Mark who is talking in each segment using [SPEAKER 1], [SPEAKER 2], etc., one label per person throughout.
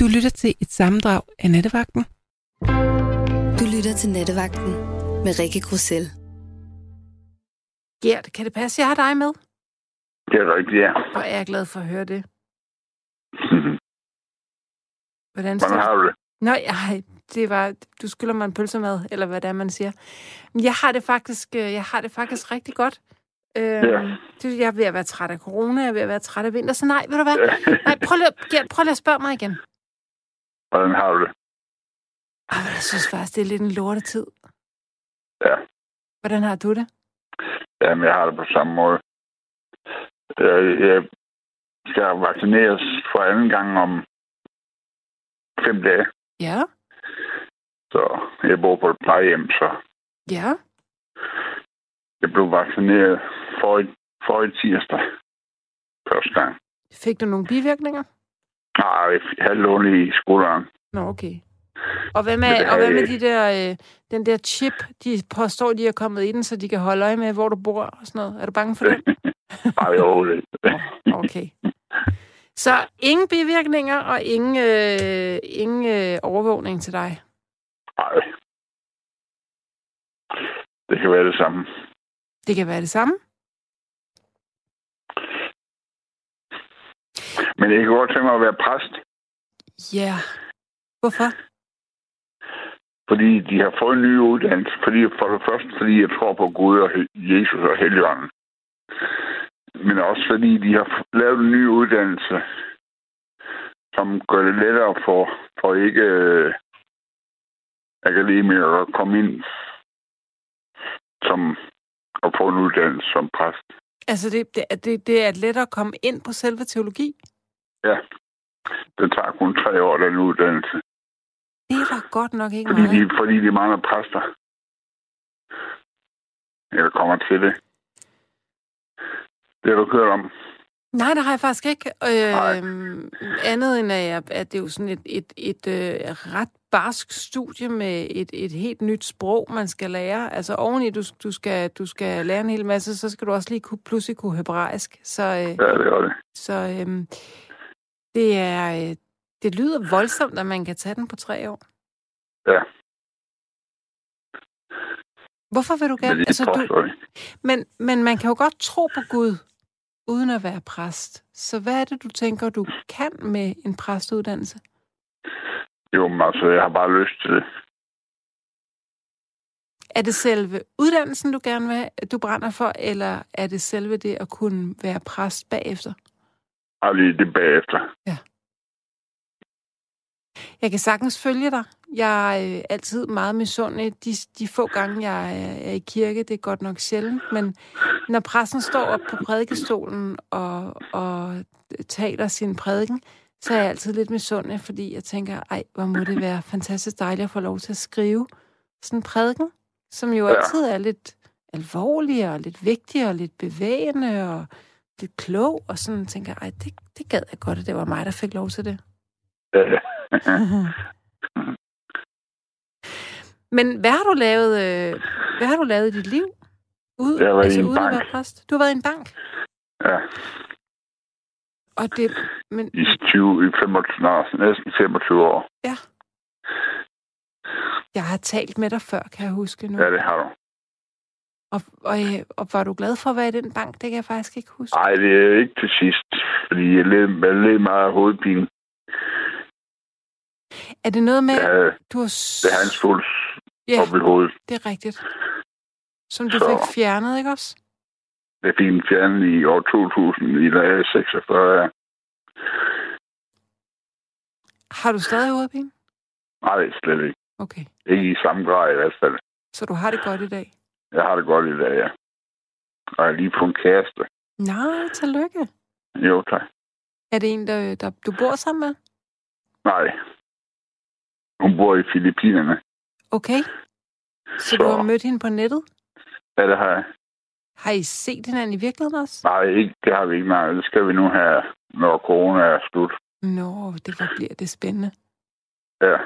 [SPEAKER 1] Du lytter til et sammendrag af Nattevagten.
[SPEAKER 2] Du lytter til Nattevagten med Rikke Grussel.
[SPEAKER 3] Gert, kan det passe, jeg har dig med?
[SPEAKER 4] Det er rigtigt, ja.
[SPEAKER 3] Hvor er jeg glad for at høre det.
[SPEAKER 4] Mhm.
[SPEAKER 3] Hvordan
[SPEAKER 4] Hvordan
[SPEAKER 3] står
[SPEAKER 4] har du det?
[SPEAKER 3] Nå, ej, det var, du skylder mig en pølsemad, eller hvad det er, man siger. Men Jeg har det faktisk, øh, jeg har det faktisk rigtig godt. Øhm,
[SPEAKER 4] Ja.
[SPEAKER 3] det, jeg er ved at være træt af corona, jeg er ved at være træt af vinter, så nej, ved du hvad? Nej, prøv lige, at- Gert, prøv lige at spørge mig igen.
[SPEAKER 4] Hvordan har du det?
[SPEAKER 3] Ej, men jeg synes faktisk, det er lidt en lortetid.
[SPEAKER 4] Ja.
[SPEAKER 3] Hvordan har du det?
[SPEAKER 4] Jamen, jeg har det på samme måde. Jeg, jeg skal vaccineres for anden gang om fem dage,
[SPEAKER 3] Ja,
[SPEAKER 4] så jeg bor på et plejehjem, så
[SPEAKER 3] ja.
[SPEAKER 4] jeg blev vaccineret for i, for i tirsdag første gang.
[SPEAKER 3] Fik du nogle bivirkninger?
[SPEAKER 4] Nej, jeg fik halvt ondt i skulderen.
[SPEAKER 3] Nå, okay. Og hvad
[SPEAKER 4] Men det
[SPEAKER 3] med,
[SPEAKER 4] har
[SPEAKER 3] og hvad med
[SPEAKER 4] jeg
[SPEAKER 3] de der, øh, den der chip, de påstår, de er kommet i den, så de kan holde øje med, hvor du bor og sådan noget? Er du bange for det?
[SPEAKER 4] Bare overhovedet.
[SPEAKER 3] Okay. Så ingen bivirkninger og ingen, øh, ingen øh, overvågning til dig.
[SPEAKER 4] Nej. Det kan være det samme.
[SPEAKER 3] Det kan være det samme.
[SPEAKER 4] Men jeg kunne godt tænke mig at være præst,
[SPEAKER 3] Ja. Yeah. Hvorfor?
[SPEAKER 4] fordi de har fået en ny uddannelse. Fordi, for det første, fordi jeg tror på Gud og Hel- Jesus og Helligånden. Men også fordi de har f- lavet en ny uddannelse, som gør det lettere for, for ikke øh, akademikere at komme ind som, og få en uddannelse som præst.
[SPEAKER 3] Altså, det, det, er- det, det er lettere at komme ind på selve teologi.
[SPEAKER 4] Det tager kun tre år, den uddannelse.
[SPEAKER 3] Det er da godt nok ikke
[SPEAKER 4] Fordi
[SPEAKER 3] meget.
[SPEAKER 4] de, fordi de mangler præster. Eller kommer til det. Det har du hørt om.
[SPEAKER 3] Nej, det har jeg faktisk ikke.
[SPEAKER 4] Nej.
[SPEAKER 3] Øh, andet end, at, jeg, at det er jo sådan et, et, et øh, ret barsk studie med et, et helt nyt sprog, man skal lære. Altså oveni, du, du, skal, du skal lære en hel masse, så skal du også lige kunne, pludselig kunne hebraisk. Så, øh,
[SPEAKER 4] Ja, det var det.
[SPEAKER 3] så øh, det er... Øh, det lyder voldsomt, at man kan tage den på tre år.
[SPEAKER 4] Ja.
[SPEAKER 3] Hvorfor vil du
[SPEAKER 4] Men
[SPEAKER 3] gerne...
[SPEAKER 4] de
[SPEAKER 3] Altså, du,
[SPEAKER 4] påstår det.
[SPEAKER 3] men, men man kan jo godt tro på Gud, uden at være præst. Så hvad er det, du tænker, du kan med en præstuddannelse?
[SPEAKER 4] Jo, men altså, jeg har bare lyst til det.
[SPEAKER 3] Er det selve uddannelsen, du gerne vil have, du brænder for, eller er det selve det at kunne være præst bagefter?
[SPEAKER 4] Og lige det bagefter.
[SPEAKER 3] Jeg kan sagtens følge dig. Jeg er øh, altid meget misundelig. De, de få gange, jeg øh, er, er i kirke, det er godt nok sjældent, men når præsten står op på prædikestolen og, og taler sin prædiken, så er jeg altid lidt misundelig, fordi jeg tænker, ej, hvor må det være fantastisk dejligt at få lov til at skrive sådan en prædiken, som jo
[SPEAKER 4] Ja.
[SPEAKER 3] altid er lidt alvorlig og lidt vigtig og lidt bevægende og lidt klog, og sådan tænker jeg, ej, det, det gad jeg godt, at det var mig, der fik lov til det.
[SPEAKER 4] Ja.
[SPEAKER 3] Men hvad har du lavet, øh, hvad har du lavet i dit liv? Ud,
[SPEAKER 4] Jeg har været i
[SPEAKER 3] altså,
[SPEAKER 4] en
[SPEAKER 3] uden at
[SPEAKER 4] bank.
[SPEAKER 3] være præst? Du har været i en bank?
[SPEAKER 4] ja.
[SPEAKER 3] Og det, men,
[SPEAKER 4] I 20, i 25, nej, næsten 25 år.
[SPEAKER 3] jeg har talt med dig før, kan jeg huske nu.
[SPEAKER 4] Ja, det har du.
[SPEAKER 3] Og, og, øh, og var du glad for at være i den bank? Det kan jeg faktisk ikke huske.
[SPEAKER 4] Nej, det er ikke til sidst. Fordi jeg led, jeg led meget af hovedpine.
[SPEAKER 3] Er det noget med,
[SPEAKER 4] Jeg
[SPEAKER 3] at
[SPEAKER 4] havde,
[SPEAKER 3] du har... s-
[SPEAKER 4] det havde en puls
[SPEAKER 3] Ja,
[SPEAKER 4] op i hovedet.
[SPEAKER 3] det er rigtigt. Som du
[SPEAKER 4] Så-
[SPEAKER 3] fik fjernet, ikke også?
[SPEAKER 4] Jeg fik den fjernet i år 2000, i da jeg er 46.
[SPEAKER 3] Har du stadig hovedpine?
[SPEAKER 4] Nej, slet ikke.
[SPEAKER 3] Okay,
[SPEAKER 4] Ikke i samme grad i hvert fald.
[SPEAKER 3] så du har det godt i dag.
[SPEAKER 4] Jeg har det godt i dag, ja. Og jeg har lige på en kæreste.
[SPEAKER 3] Nej, tillykke.
[SPEAKER 4] Jo, tak.
[SPEAKER 3] Er det en, der, der du bor sammen med?
[SPEAKER 4] Nej. Hun bor i Filippinerne.
[SPEAKER 3] Okay. Så
[SPEAKER 4] Så-
[SPEAKER 3] du har mødt hende på nettet?
[SPEAKER 4] Ja, det har jeg.
[SPEAKER 3] Har I set hinanden i virkeligheden også?
[SPEAKER 4] Nej, ikke, det har vi ikke. Nej, det skal vi nu have, når corona er slut.
[SPEAKER 3] Nå, det var, bliver det spændende.
[SPEAKER 4] Ja.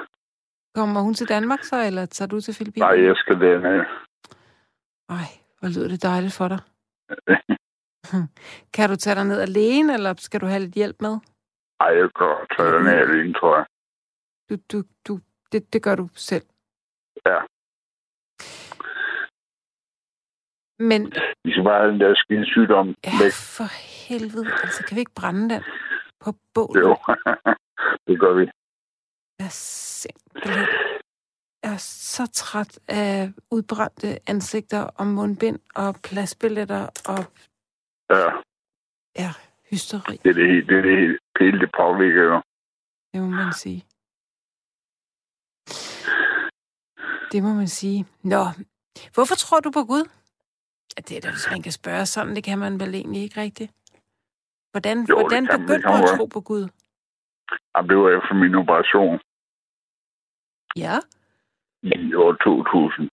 [SPEAKER 3] Kommer hun til Danmark så, eller tager du til Filippinerne?
[SPEAKER 4] Nej, jeg skal derned.
[SPEAKER 3] Ej, hvor lyder det dejligt for dig. kan du tage dig ned alene, eller skal du have lidt hjælp med?
[SPEAKER 4] Ej, jeg går tage derned alene, tror jeg.
[SPEAKER 3] Du, du, du, det, det gør du selv.
[SPEAKER 4] Ja.
[SPEAKER 3] Men
[SPEAKER 4] De skal bare have den der skide sygdom
[SPEAKER 3] ja,
[SPEAKER 4] væk.
[SPEAKER 3] for helvede, altså kan vi ikke brænde den på bålet?
[SPEAKER 4] Jo. det gør vi.
[SPEAKER 3] Jeg er simpelthen... Jeg er så træt af udbrændte ansigter og mundbind og pladsbilletter og
[SPEAKER 4] Ja,
[SPEAKER 3] hysteri,
[SPEAKER 4] det er det, hele- det, er det hele, hele det påvirker jo.
[SPEAKER 3] det må man sige. Det må man sige. Nå, hvorfor tror du på Gud? Ja, Det er da, hvis man kan spørge sådan, det kan man vel egentlig ikke rigtigt. Hvordan,
[SPEAKER 4] det
[SPEAKER 3] hvordan
[SPEAKER 4] kan man, det
[SPEAKER 3] begyndte
[SPEAKER 4] kan
[SPEAKER 3] du
[SPEAKER 4] man
[SPEAKER 3] at
[SPEAKER 4] godt.
[SPEAKER 3] tro på Gud?
[SPEAKER 4] Jamen, det var efter min operation
[SPEAKER 3] Ja.
[SPEAKER 4] i år 2000.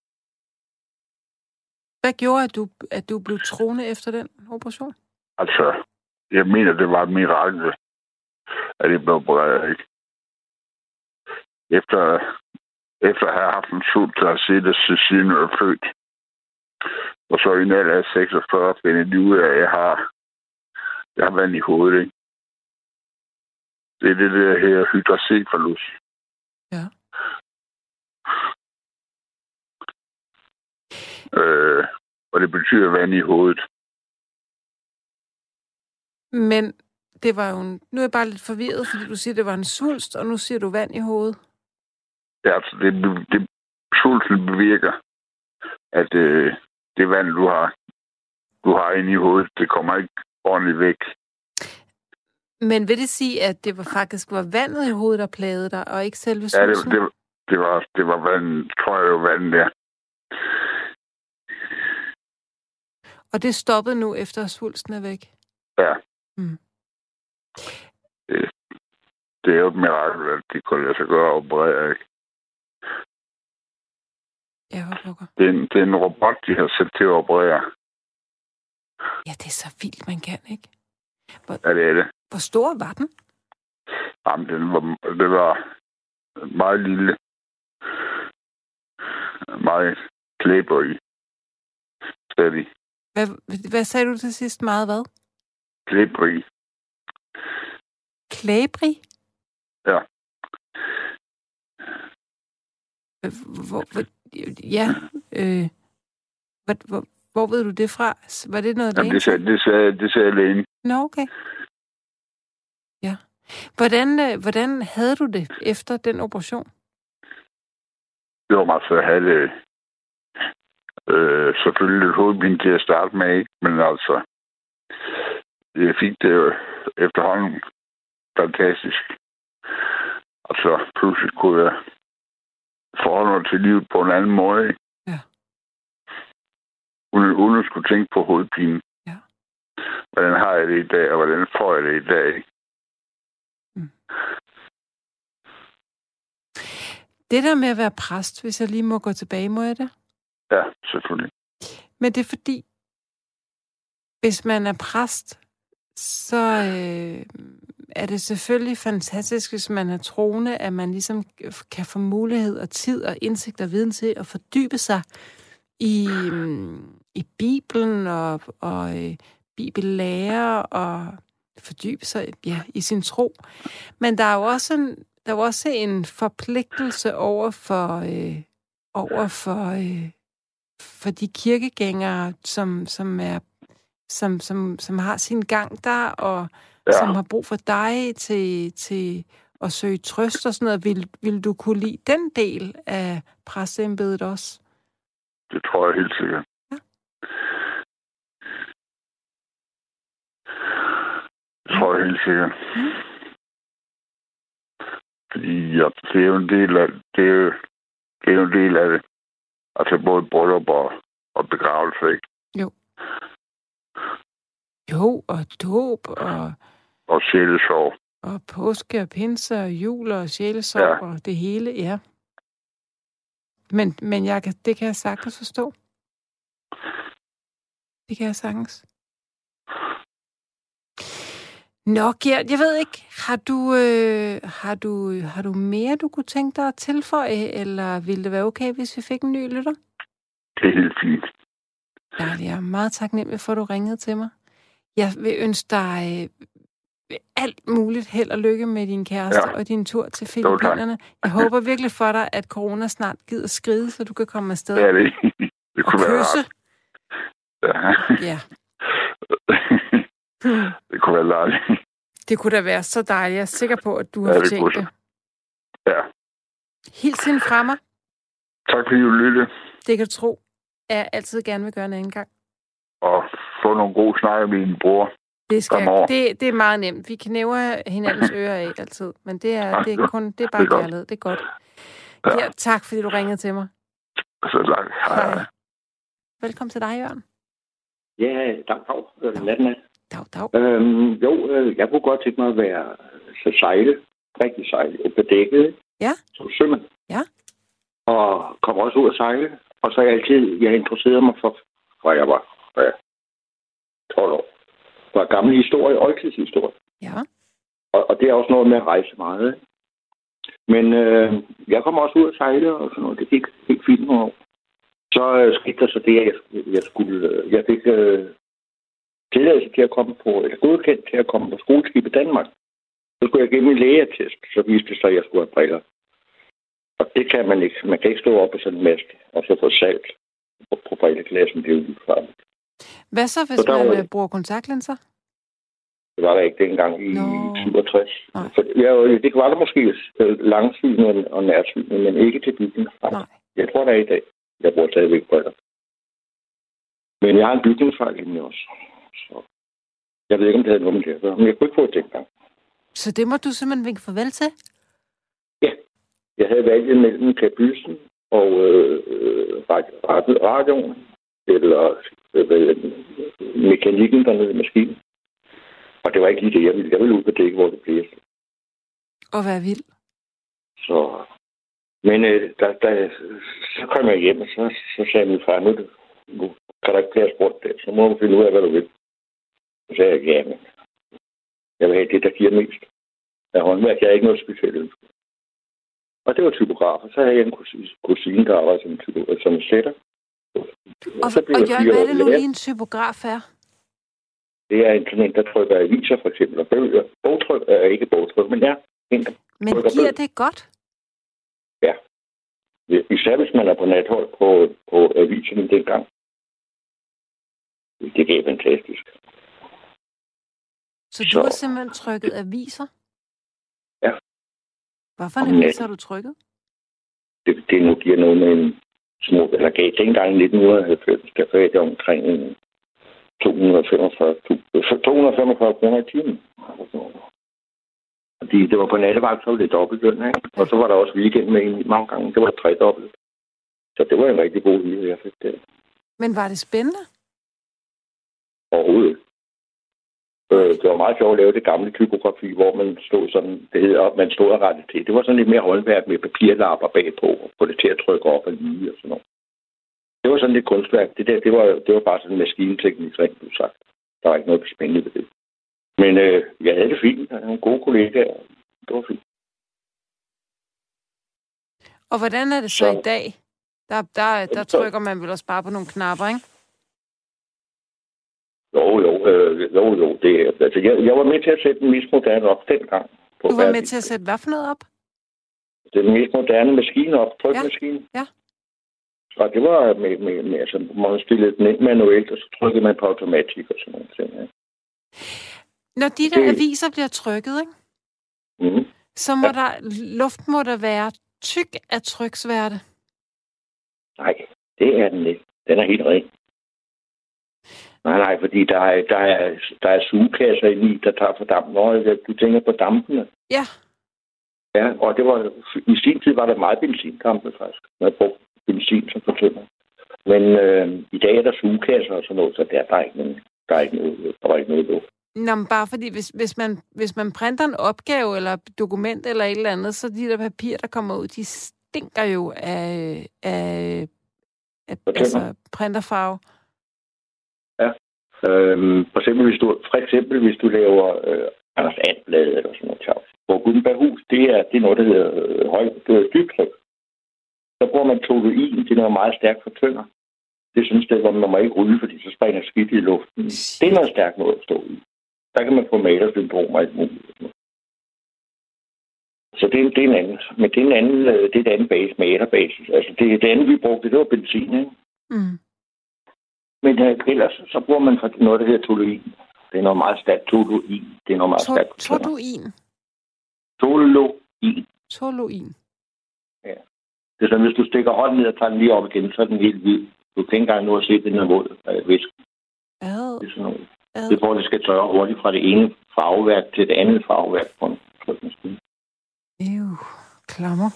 [SPEAKER 3] Hvad gjorde, at du, at du blev troende efter den operation?
[SPEAKER 4] Altså, jeg mener, det var et mirakel, at det blev opereret, ikke? Efter, efter at have haft en sult, der har siddet til siden jeg er født. Og så i en alder af 46 finder de ud af, at jeg har, jeg har vand i hovedet, ikke? Det er det der her hydrocephalus.
[SPEAKER 3] Ja.
[SPEAKER 4] Øh, og det betyder vand i hovedet.
[SPEAKER 3] Men det var jo en... Nu er jeg bare lidt forvirret, fordi du siger, det var en svulst, og nu siger du vand i hovedet.
[SPEAKER 4] Ja, altså, det, det, sulten bevirker, at øh, det vand, du har, du har inde i hovedet, det kommer ikke ordentligt væk.
[SPEAKER 3] Men vil det sige, at det var faktisk var vandet i hovedet, der plagede dig, og ikke selve
[SPEAKER 4] Ja,
[SPEAKER 3] svulsten?
[SPEAKER 4] det, det, det, var, det var vand, tror jeg, det var vand der.
[SPEAKER 3] Og det stoppede nu, efter at svulsten er væk?
[SPEAKER 4] Det er jo et mirakel, at det kunne lade sig gøre at operere. ikke?
[SPEAKER 3] Ja, hvor pokker.
[SPEAKER 4] Det er, en, det er en robot, de har sat til at operere.
[SPEAKER 3] Ja, det er så vildt, man kan, ikke?
[SPEAKER 4] Ja, det er det.
[SPEAKER 3] Hvor stor var den?
[SPEAKER 4] Jamen, den var, det var meget lille. Meget klæber i. Stadig.
[SPEAKER 3] Hvad, hvad sagde du til sidst? Meget hvad?
[SPEAKER 4] Klæber i.
[SPEAKER 3] Klæbrig?
[SPEAKER 4] Ja.
[SPEAKER 3] Hvor, Øh, hvor, hvor- ja, øh, hvor, hvor, hvor ved du det fra? S- Var det noget,
[SPEAKER 4] Jamen,
[SPEAKER 3] lægen
[SPEAKER 4] det sagde, det sagde, det sagde lægen.
[SPEAKER 3] Nå, okay. Ja. Hvordan, øh, hvordan havde du det efter den operation?
[SPEAKER 4] Det var mig, så jeg havde øh, øh, selvfølgelig lidt hovedpine til at starte med, ikke? men altså, jeg fik det jo efterhånden fantastisk. Altså, pludselig kunne jeg forholde mig til livet på en anden måde. ikke?
[SPEAKER 3] Ja.
[SPEAKER 4] Uden, uden at skulle tænke på hovedpine.
[SPEAKER 3] Ja.
[SPEAKER 4] Hvordan har jeg det i dag, og hvordan får jeg det i dag? ikke?
[SPEAKER 3] Det der med at være præst, hvis jeg lige må gå tilbage, må jeg det?
[SPEAKER 4] Ja, selvfølgelig.
[SPEAKER 3] Men det er fordi, hvis man er præst, så øh, er det selvfølgelig fantastisk, hvis man er troende, at man ligesom kan få mulighed og tid og indsigt og viden til at fordybe sig i, mm, i Bibelen og, og øh, bibellærer og fordybe sig ja, i sin tro. Men der er jo også en, der er jo også en forpligtelse over for, øh, over for øh, for de kirkegængere, som, som, er, som, som, som har sin gang der, og ja. som har brug for dig til, til at søge trøst og sådan noget. Vil, vil du kunne lide den del af præsteembedet også?
[SPEAKER 4] Det tror jeg helt sikkert.
[SPEAKER 3] Ja.
[SPEAKER 4] Det tror jeg helt sikkert. Fordi ja, det er jo en del af det. Er jo, det er jo en del af det. Altså både bryllup og, og begravelse, ikke?
[SPEAKER 3] Jo, og dåb, og,
[SPEAKER 4] Og sjælesorg.
[SPEAKER 3] og påske, og pinse, og jul, og sjælesorg, ja.
[SPEAKER 4] Ja.
[SPEAKER 3] og det hele, ja. Men, men jeg kan, det kan jeg sagtens forstå. Det kan jeg sagtens. Nå, Gert, jeg ved ikke, har du, øh, har, du, har du mere, du kunne tænke dig at tilføje, eller ville det være okay, hvis vi fik en ny lytter?
[SPEAKER 4] Det er helt fint.
[SPEAKER 3] Dejligt, jeg er meget taknemmelig for, at du ringede til mig. Jeg vil ønske dig øh, alt muligt held og lykke med din kæreste ja.
[SPEAKER 4] Ja.
[SPEAKER 3] og din tur til Filippinerne. Jeg håber virkelig for dig, at corona snart gider skride, så du kan komme afsted
[SPEAKER 4] Det er det ikke. Det
[SPEAKER 3] og
[SPEAKER 4] kunne være
[SPEAKER 3] kysse.
[SPEAKER 4] rart. Ja.
[SPEAKER 3] Ja.
[SPEAKER 4] det kunne være dejligt.
[SPEAKER 3] Det kunne da være så dejligt. Jeg er sikker på, at du
[SPEAKER 4] Ja,
[SPEAKER 3] har
[SPEAKER 4] det
[SPEAKER 3] fortjent
[SPEAKER 4] kunne
[SPEAKER 3] det.
[SPEAKER 4] Ja.
[SPEAKER 3] Hils hende fra mig.
[SPEAKER 4] Tak fordi du lyttede,
[SPEAKER 3] Det kan du tro, at jeg altid gerne vil gøre en anden gang.
[SPEAKER 4] og få nogle gode snakker med din bror.
[SPEAKER 3] Det, skal
[SPEAKER 4] Kom
[SPEAKER 3] jeg,
[SPEAKER 4] over.
[SPEAKER 3] det, det er meget nemt. Vi knæver hinandens ører af altid. Men det er,
[SPEAKER 4] Ja,
[SPEAKER 3] det er,
[SPEAKER 4] det-
[SPEAKER 3] kun, det er
[SPEAKER 4] det
[SPEAKER 3] bare
[SPEAKER 4] er godt.
[SPEAKER 3] kærlighed. Det er godt.
[SPEAKER 4] Ja.
[SPEAKER 3] Ja, tak, fordi du ringede til mig.
[SPEAKER 4] Så tak. Hej.
[SPEAKER 3] Hej. Velkommen til dig, Jørgen.
[SPEAKER 5] Ja, dag, dag. Øh, Natten af.
[SPEAKER 3] Dag, dag.
[SPEAKER 5] Øhm, jo, øh, jeg kunne godt tænke mig at være øh, så sejle, rigtig sejle, på dækket.
[SPEAKER 3] Ja.
[SPEAKER 5] Som sømand.
[SPEAKER 3] Ja.
[SPEAKER 5] Og kom også ud at sejle. Og så er jeg altid, jeg interesserede mig for, hvor jeg var ja, 12 år. For gammel historie, oldtidshistorie.
[SPEAKER 3] Ja.
[SPEAKER 5] Og, og det er også noget med at rejse meget. ikke? Men øh, jeg kom også ud at sejle og sådan noget. Det gik helt fint nogle år. Så øh, skete der så det, at jeg, skulle- jeg, skulle, øh, jeg fik øh, tilladelse til at komme på, eller godkendt til at komme på skoleskib i Danmark. Så skulle jeg give min lægetest, så viste det sig, at jeg skulle have briller. Og det kan man ikke. Man kan ikke stå op på sådan en mask, og så få salt på, på brilleglasen. Det er jo lige frem.
[SPEAKER 3] Hvad så, hvis
[SPEAKER 5] Så der
[SPEAKER 3] man
[SPEAKER 5] var
[SPEAKER 3] øh,
[SPEAKER 5] det.
[SPEAKER 3] bruger kontaktlinser?
[SPEAKER 5] Det var der ikke dengang i
[SPEAKER 3] Nå.
[SPEAKER 5] no. 67.
[SPEAKER 3] Nej.
[SPEAKER 5] Så, ja, det var der måske øh, langsynet og nærsynet, men ikke til bygningsfejl.
[SPEAKER 3] Nej.
[SPEAKER 5] Jeg tror, der er i dag. Jeg bruger stadigvæk briller. Men jeg har en bygningsfejl i mig også. Så jeg ved ikke, om det havde noget med det at gøre, men jeg kunne ikke få det dengang.
[SPEAKER 3] Så det må du simpelthen vinke farvel til.
[SPEAKER 5] Jeg havde valget mellem kabysen og øh, øh, radi- radi- radioen, eller øh, hvad hedder den, mekanikken dernede i maskinen. Og det var ikke lige det, jeg ville. Jeg ville ud på dækket, hvor det blev.
[SPEAKER 3] Og være vild.
[SPEAKER 5] Så, men øh, da, da, så kom jeg hjem, og så, så sagde min far, nu, er det- nu kan der ikke blive spurgt det. Så må du finde ud af, hvad du vil. Så sagde jeg, ja, men jeg vil have det, der giver mest. Jeg håndværk, jeg er ikke noget specielt ønske. Og det var typograf, og så havde jeg en kus- kusine, der arbejdede som, typo- som sætter.
[SPEAKER 3] Og, og
[SPEAKER 5] jeg
[SPEAKER 3] Jørgen,
[SPEAKER 5] fyret
[SPEAKER 3] hvad er det nu
[SPEAKER 5] lærer.
[SPEAKER 3] lige en typograf er?
[SPEAKER 5] Det er en, sådan en, der trykker aviser, for eksempel, og bøger. Bogtryk er ikke bogtryk, men ja, en, der
[SPEAKER 3] Men
[SPEAKER 5] Trykker
[SPEAKER 3] giver
[SPEAKER 5] bøger.
[SPEAKER 3] det godt?
[SPEAKER 5] Især hvis man er på nathold på, på aviserne dengang. Det gav fantastisk.
[SPEAKER 3] Så du
[SPEAKER 5] Så-
[SPEAKER 3] har simpelthen trykket aviser?
[SPEAKER 5] Ja.
[SPEAKER 3] Hvorfor
[SPEAKER 5] Om
[SPEAKER 3] en avis
[SPEAKER 5] natten.
[SPEAKER 3] har du trykket?
[SPEAKER 5] Det, det nu giver noget med en små, eller gav dengang i 1990, der gav det omkring en 245, tu- 245 kroner i timen. Fordi det var på nattevagt, så var det dobbelt løn, ikke? Og så var der også weekend med en mange gange. Det var tre dobbelt. Så det var en rigtig god hyre, jeg fik der.
[SPEAKER 3] Men var det spændende?
[SPEAKER 5] Overhovedet. ikke. Øh, det var meget sjovt at lave det gamle typografi, hvor man stod sådan, det hedder, man stod og rettede til. Det var sådan lidt mere håndværk med papirlapper bagpå, og få det til at trykke op og lige og sådan noget. Det var sådan lidt kunstværk. Det der, det var, det var bare sådan en maskinteknik, rent du sagt. Der var ikke noget spændende ved det. Men øh, jeg havde det fint, og jeg havde nogle gode kollegaer. Det var fint.
[SPEAKER 3] Og hvordan er det så,
[SPEAKER 5] Så-
[SPEAKER 3] i dag? Der, der, der
[SPEAKER 5] Så-
[SPEAKER 3] trykker man vel også bare på nogle knapper, ikke?
[SPEAKER 5] Jo, jo, øh, jo, jo. Det, altså, jeg, jeg var med til at sætte den mest moderne op dengang. På
[SPEAKER 3] Du var med
[SPEAKER 5] verden.
[SPEAKER 3] til at sætte hvad for noget op?
[SPEAKER 5] den mest moderne maskine op, trykmaskine.
[SPEAKER 3] Ja, ja.
[SPEAKER 5] Og det var med, med, med altså, man stillede den ind manuelt, og så trykkede man på automatik og sådan nogle ting. Ja.
[SPEAKER 3] Når de der
[SPEAKER 5] Det-
[SPEAKER 3] aviser bliver trykket, ikke?
[SPEAKER 5] Mm.
[SPEAKER 3] så må der, luft må der være tyk af tryksværte.
[SPEAKER 5] Nej, det er den ikke. Den er helt ren. Nej, nej, fordi der er, der er, der er sugekasser i, der tager for dampen. Og du tænker på dampene.
[SPEAKER 3] Ja.
[SPEAKER 5] Ja, og det var, i sin tid var der meget benzindampe faktisk. Man brugte benzin som fortæller. Men øh, i dag er der sugekasser og sådan noget, så der, der er ikke nogen, der er ikke noget, der er ikke noget luft.
[SPEAKER 3] Nå, men bare fordi, hvis, hvis, man, hvis man printer en opgave eller et dokument eller et eller andet, så de der papirer, der kommer ud, de stinker jo af, af, af
[SPEAKER 5] Fortæl
[SPEAKER 3] altså,
[SPEAKER 5] mig.
[SPEAKER 3] printerfarve.
[SPEAKER 5] Øhm, for, eksempel, hvis du, for eksempel hvis du laver øh, Anders Andblad eller sådan noget tjavs. Hvor Gutenberghus, det er, det er noget, der hedder øh, højt øh, dybtryk. Så bruger man toluin, det er noget meget stærkt for tynger. Det er sådan et sted, hvor man må ikke ryge, fordi så springer skidt i luften. Det er noget stærkt noget at stå i. Der kan man få malersyndrom og alt muligt. Så det, er- det er en anden. Men det er en anden, øh, det er et andet base, malerbasis. Altså det, det andet, vi brugte, det var benzin, ikke?
[SPEAKER 3] Mm.
[SPEAKER 5] Men øh, ellers, så bruger man for- noget, der hedder toluin. Det er noget meget stærkt toluin. Det er noget meget
[SPEAKER 3] Tor,
[SPEAKER 5] stærkt.
[SPEAKER 3] torduin.
[SPEAKER 5] Toluin.
[SPEAKER 3] Torluin.
[SPEAKER 5] Det er sådan, hvis du stikker hånden ned og tager den lige op igen, så er den helt hvid. Du kan ikke engang nå at se den er våd øh, væske.
[SPEAKER 3] Ad,
[SPEAKER 5] Det er sådan noget.
[SPEAKER 3] ad.
[SPEAKER 5] Det er for, at det skal tørre hurtigt fra det ene farveværk til det andet farveværk på en trykmaskine.
[SPEAKER 3] Ew. Klammer.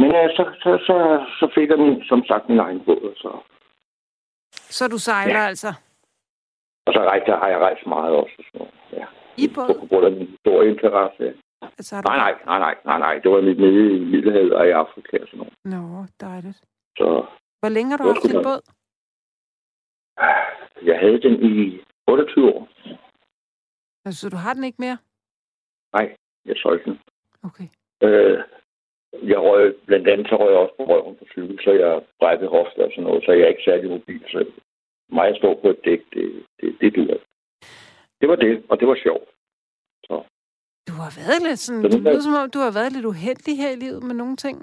[SPEAKER 5] Men øh, så, så, så, så fik jeg min, som sagt min egen båd, og så,
[SPEAKER 3] Så du sejler ja. altså
[SPEAKER 5] og så rejste, har jeg rejst meget også. og sådan noget. Ja.
[SPEAKER 3] i
[SPEAKER 5] Så
[SPEAKER 3] båd?
[SPEAKER 5] på grund af min store interesse. ja.
[SPEAKER 3] Altså, har du...
[SPEAKER 5] Nej, nej, nej, nej, nej, nej. Det var lidt nede i Middelhavet og i Afrika og sådan noget.
[SPEAKER 3] Nå, dejligt.
[SPEAKER 5] Så
[SPEAKER 3] Hvor længe har du
[SPEAKER 5] Jeg
[SPEAKER 3] haft
[SPEAKER 5] skulle
[SPEAKER 3] din
[SPEAKER 5] nok-
[SPEAKER 3] båd?
[SPEAKER 5] jeg havde den i 28 år.
[SPEAKER 3] Altså, du har den ikke mere?
[SPEAKER 5] Jeg solgte den.
[SPEAKER 3] Okay.
[SPEAKER 5] Øh, jeg røg, blandt andet så røg jeg også på røven på cykel, så jeg brækkede hofte og sådan noget, så jeg er ikke særlig mobil. Så mig at stå på et dæk, det, det, det duer. ikke. Det var det, og det var sjovt.
[SPEAKER 3] Du har været lidt sådan...
[SPEAKER 5] Så
[SPEAKER 3] Det
[SPEAKER 5] den der-
[SPEAKER 3] lyder som om, du har været lidt uheldig her i livet med nogle ting.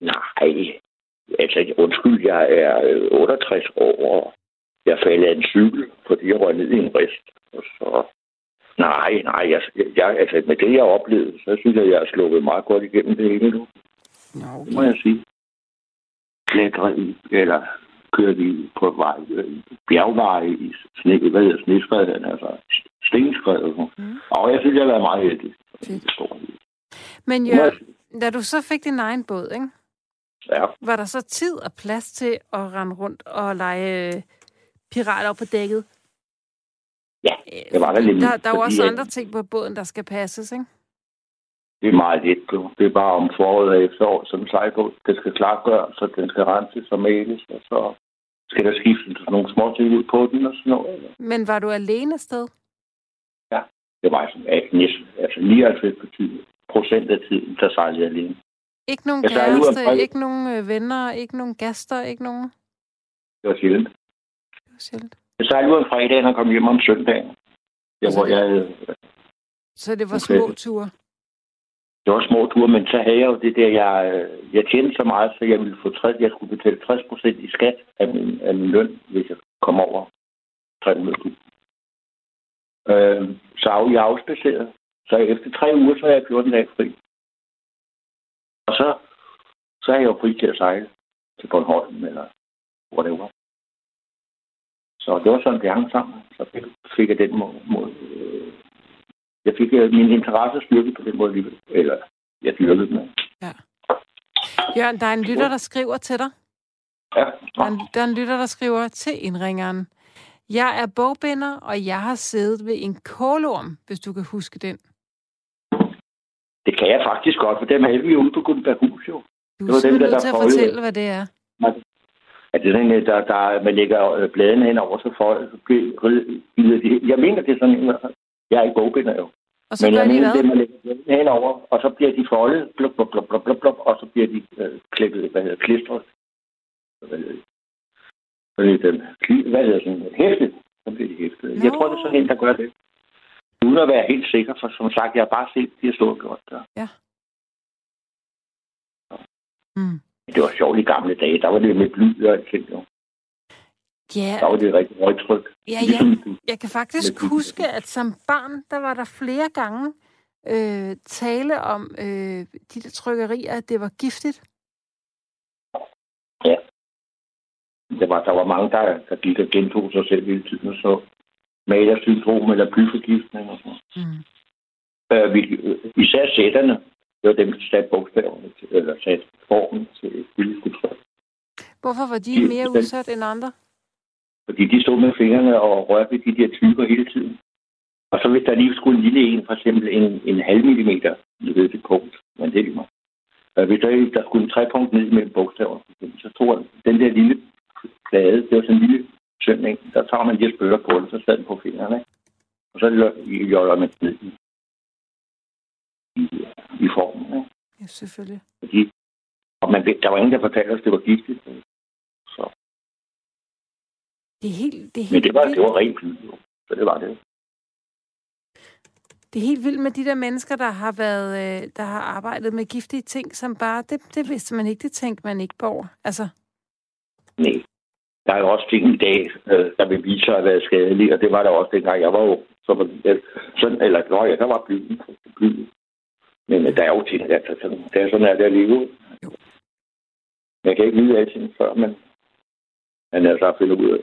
[SPEAKER 5] Nej, altså undskyld, jeg er øh, 68 år, og jeg faldt af en cykel, fordi jeg røg ned i en rist. Og så, nej, nej, jeg, jeg, altså med det, jeg oplevede, så synes jeg, jeg er sluppet meget godt igennem det hele nu.
[SPEAKER 3] Nå,
[SPEAKER 5] Det må jeg sige. Klætre i, eller kørte i på vej, øh, bjergveje i sne, hvad hedder sneskredet, altså stenskredet.
[SPEAKER 3] Mm.
[SPEAKER 5] Mm. Og jeg synes, jeg har været meget heldig.
[SPEAKER 3] Fedt.
[SPEAKER 5] Det står i.
[SPEAKER 3] Men
[SPEAKER 5] Det må
[SPEAKER 3] Jørgen,
[SPEAKER 5] jeg sige.
[SPEAKER 3] da du så fik din egen båd, ikke?
[SPEAKER 5] Ja,
[SPEAKER 3] var der så tid og plads til at rende rundt og lege øh, pirater op på dækket?
[SPEAKER 5] Ja,
[SPEAKER 3] Øh,
[SPEAKER 5] det var der nemlig,
[SPEAKER 3] Der, der er jo
[SPEAKER 5] fordi
[SPEAKER 3] også
[SPEAKER 5] at-
[SPEAKER 3] andre ting på båden, der skal passes, ikke?
[SPEAKER 5] det er meget let. du. Det er bare om foråret og efteråret, som sejlbåd. Den skal klargøres, så den skal renses og males, og så skal der skiftes nogle små ting ud på den og sådan noget.
[SPEAKER 3] Men var du alene afsted?
[SPEAKER 5] Det var sådan, at næsten, altså 99 procent af tiden, der sejlede jeg alene.
[SPEAKER 3] Ikke nogen
[SPEAKER 5] Jeg sejlede ud af
[SPEAKER 3] kæreste,
[SPEAKER 5] Fredericia.
[SPEAKER 3] ikke nogen øh, venner, ikke nogen gaster, ikke nogen...
[SPEAKER 5] Det var sjældent.
[SPEAKER 3] Det var sjældent.
[SPEAKER 5] Jeg sejlede ud om fredagen og kom hjem om søndagen. Jeg, hvor jeg,
[SPEAKER 3] Så det var
[SPEAKER 5] Okay.
[SPEAKER 3] små ture.
[SPEAKER 5] det var små ture, men så havde jeg jo det der, jeg, øh, jeg tjente så meget, så jeg ville få 60, jeg skulle betale 60 procent i skat af min, af min løn, hvis jeg kom over 300.000. Øh, så er jeg afspaceret. Så efter tre uger, så er jeg 14 dage fri. Og så, så er jeg jo fri til at sejle til Bornholm, eller hvor det var. Så det var sådan, det hang sammen. Så fik, fik jeg den måde. måde øh, jeg fik øh, min interesse styrket på den måde alligevel. Eller jeg dyrkede den.
[SPEAKER 3] Jørgen, der er en lytter, der skriver til dig.
[SPEAKER 5] Ja.
[SPEAKER 3] Der er, en, der er en lytter, der skriver til indringeren. Jeg er bogbinder, og jeg har siddet ved en kålorm, hvis du kan huske den.
[SPEAKER 5] Det kan jeg faktisk godt, for dem havde vi ude på Gutenberghus jo.
[SPEAKER 3] Du
[SPEAKER 5] Det
[SPEAKER 3] er
[SPEAKER 5] var dem,
[SPEAKER 3] simpelthen
[SPEAKER 5] der-
[SPEAKER 3] nødt
[SPEAKER 5] der
[SPEAKER 3] til at
[SPEAKER 5] foldede.
[SPEAKER 3] fortælle, hvad det er.
[SPEAKER 5] At det er sådan, øh, der, der, man lægger øh, bladene hen over, så folk bliver de. Jeg mener, det er sådan en, jeg er ikke bogbinder jo.
[SPEAKER 3] Og så
[SPEAKER 5] Men
[SPEAKER 3] gør
[SPEAKER 5] jeg
[SPEAKER 3] de
[SPEAKER 5] mener, det er,
[SPEAKER 3] hvad?
[SPEAKER 5] man lægger bladene hen over, og så bliver de foldet, blub, blub, blub, blub, blub, blub, og så bliver de øh, klippet, hvad hedder det, klistret. Hvad hedder det? Hvad hedder det? Kli- Hvad hedder sådan? Hæftet. Så bliver de hæftet.
[SPEAKER 3] Nå.
[SPEAKER 5] Jeg tror, det er sådan en, der gør det. Uden at være helt sikker, for som sagt, jeg har bare set, de har stået og gjort der.
[SPEAKER 3] Mm.
[SPEAKER 5] Det var sjovt i gamle dage. Der var det med bly og alting, jo.
[SPEAKER 3] Ja,
[SPEAKER 5] Der var det rigtig højtryk.
[SPEAKER 3] ja, ja.
[SPEAKER 5] Ligesom du-
[SPEAKER 3] Jeg kan faktisk
[SPEAKER 5] Med bilen.
[SPEAKER 3] huske, at som barn, der var der flere gange øh, tale om øh, de der trykkerier, at det var giftigt.
[SPEAKER 5] Der var, der var mange, der, der gik og gentog sig selv hele tiden, og så malersyndrom eller blyforgiftning og sådan noget.
[SPEAKER 3] Mm.
[SPEAKER 5] øh, vi, øh, især sætterne, det var dem, der satte bogstaverne til, eller satte formen til billedkultur.
[SPEAKER 3] Hvorfor var de
[SPEAKER 5] Giftigt,
[SPEAKER 3] mere
[SPEAKER 5] den-
[SPEAKER 3] udsat end andre?
[SPEAKER 5] Fordi de stod med fingrene og rørte ved de der typer hele tiden. Og så hvis der lige skulle en lille en, for eksempel en, en halv millimeter, nu ved det punkt, men det er lige meget. Øh, Hvis der, der skulle en træpunkt ned mellem bogstaverne, for eksempel, så tror jeg, den der lille plade, det var sådan en lille søm, ikke? der tager man lige og spytter på den, så sad den på fingrene, ikke? og så lø- joller man den ned i, i, i formen. Ikke?
[SPEAKER 3] Ja, selvfølgelig.
[SPEAKER 5] Fordi, og man, ved- der var ingen, der fortalte os, det var giftigt. Så
[SPEAKER 3] Det er helt, det er helt
[SPEAKER 5] Men det var,
[SPEAKER 3] vildt.
[SPEAKER 5] det var rent fly, jo. Så det var det.
[SPEAKER 3] Det er helt vildt med de der mennesker, der har været, øh, der har arbejdet med giftige ting, som bare, det, det vidste man ikke, det tænkte man ikke på over. Altså,
[SPEAKER 5] Nej. Der er jo også ting i dag, øh, der vil vise sig at være skadelige, og det var der også dengang, jeg var jo så var, det- sådan, eller nå ja, der var byen. byen. Men øh, der er jo ting, altså, sådan, der er sådan, er det at leve. Jeg kan ikke vide alting før, men men altså, jeg finder ud af,
[SPEAKER 3] det er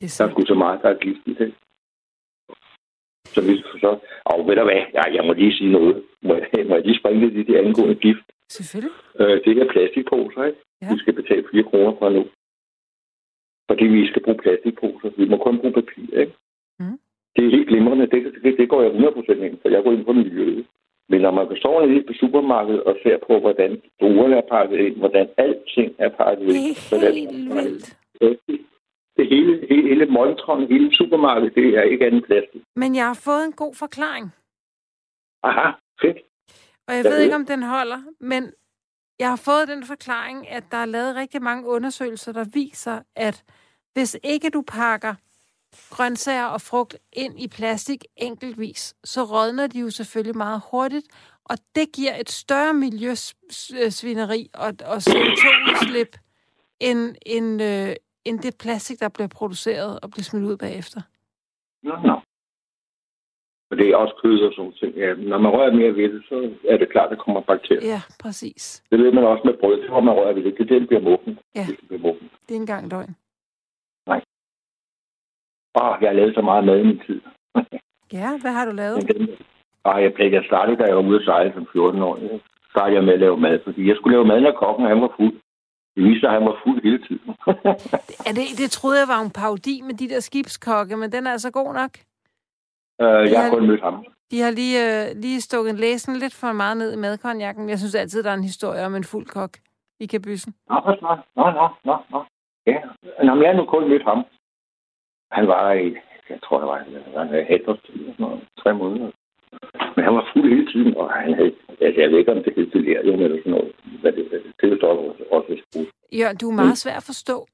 [SPEAKER 5] der er
[SPEAKER 3] så,
[SPEAKER 5] sgu så meget, der er gift i det. Så hvis så, og ved du hvad, ja, jeg må lige sige noget. Må jeg, må jeg lige springe lidt i det angående gift?
[SPEAKER 3] selvfølgelig.
[SPEAKER 5] øh, det her plastikposer, ikke?
[SPEAKER 3] Ja.
[SPEAKER 5] Ja. Vi skal betale 4 kroner fra nu. Fordi vi skal bruge plastikposer. Vi må kun bruge papir, ikke?
[SPEAKER 3] Mhm.
[SPEAKER 5] Det er helt glimrende. Det, det, det går jeg 100% ind for. Jeg går ind på miljøet. Men når man står nede på supermarkedet og ser på, hvordan druerne er pakket ind, hvordan alting er pakket
[SPEAKER 3] Det
[SPEAKER 5] ind.
[SPEAKER 3] er
[SPEAKER 5] hvordan-
[SPEAKER 3] helt vildt.
[SPEAKER 5] Øh, Det hele, hele, hele montron, hele supermarkedet, det er ikke andet plastik.
[SPEAKER 3] Men jeg har fået en god forklaring.
[SPEAKER 5] Aha, fedt.
[SPEAKER 3] Og jeg
[SPEAKER 5] Ja,
[SPEAKER 3] ved
[SPEAKER 5] det-
[SPEAKER 3] ikke, om den holder, men jeg har fået den forklaring, at der er lavet rigtig mange undersøgelser, der viser, at hvis ikke du pakker grøntsager og frugt ind i plastik enkeltvis, så rådner de jo selvfølgelig meget hurtigt, og det giver et større miljøsvineri og, og CO2-udslip, end, end, øh, end det plastik, der bliver produceret og bliver smidt ud bagefter.
[SPEAKER 5] Nå, nå. Og det er også kød og sådan ting. Ja, når man rører mere ved det, så er det klart, at der kommer bakterier.
[SPEAKER 3] Ja, præcis.
[SPEAKER 5] Det ved man også med brød. Det hvor man rører ved det. Det er det, der bliver muffen.
[SPEAKER 3] Ja.
[SPEAKER 5] Det bliver muffen.
[SPEAKER 3] Det er ikke engang løgn.
[SPEAKER 5] Åh, jeg har lavet så meget mad i min tid.
[SPEAKER 3] Ja, hvad har du lavet?
[SPEAKER 5] Men den- Ah, jeg, blev, jeg startede, da jeg var ude at sejle som 14 år. Så startede jeg med at lave mad, fordi jeg skulle lave mad, når kokken han var fuld. Det viste sig, at han var fuld hele tiden.
[SPEAKER 3] Ja, det, det troede jeg var en parodi med de der skibskokke, men den er altså god nok.
[SPEAKER 5] Øh, jeg
[SPEAKER 3] Ja.
[SPEAKER 5] har kun mødt ham.
[SPEAKER 3] De har lige, øh, lige stukket læsen lidt for meget ned i madkonjakken. Jeg synes altid, der er en historie om en fuld kok i kabyssen.
[SPEAKER 5] Nå, hvad så? Nå, nå, nå, nå. Ja, Nå, men jeg har nu kun mødt ham. Han var i, jeg tror, det var en- han havde halvårstid, eller sådan noget, tre måneder. Men han var fuld hele tiden, og han havde, altså jeg ved ikke, om det hed delirium eller sådan noget, hvad det, hvad det tilstår også, også sprut.
[SPEAKER 3] Jørgen, du er meget svær at forstå.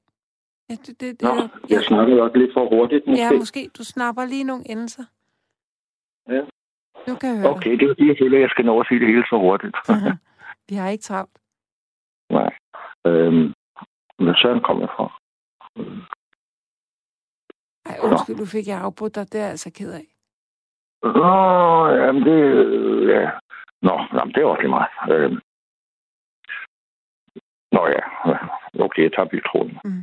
[SPEAKER 3] Ja, det, det, det,
[SPEAKER 5] Mm. Nå,
[SPEAKER 3] ja,
[SPEAKER 5] jeg snakkede også lidt for hurtigt.
[SPEAKER 3] ja,
[SPEAKER 5] måske.
[SPEAKER 3] måske. Du snapper lige nogle endelser.
[SPEAKER 5] Ja.
[SPEAKER 3] Nu kan jeg høre
[SPEAKER 5] Okay, det er jo det, jeg føler, jeg skal nå at sige det hele så hurtigt.
[SPEAKER 3] dig. Vi har ikke travlt.
[SPEAKER 5] Nej. Øhm, men sådan kom jeg fra.
[SPEAKER 3] Ej, undskyld, du fik jeg afbrudt dig. Det er jeg altså ked af.
[SPEAKER 5] Nå, jamen det... øh, Ja. Nå, jamen det er også lige meget. Øhm. Nå ja, okay, jeg tager biltronen.
[SPEAKER 3] Mm.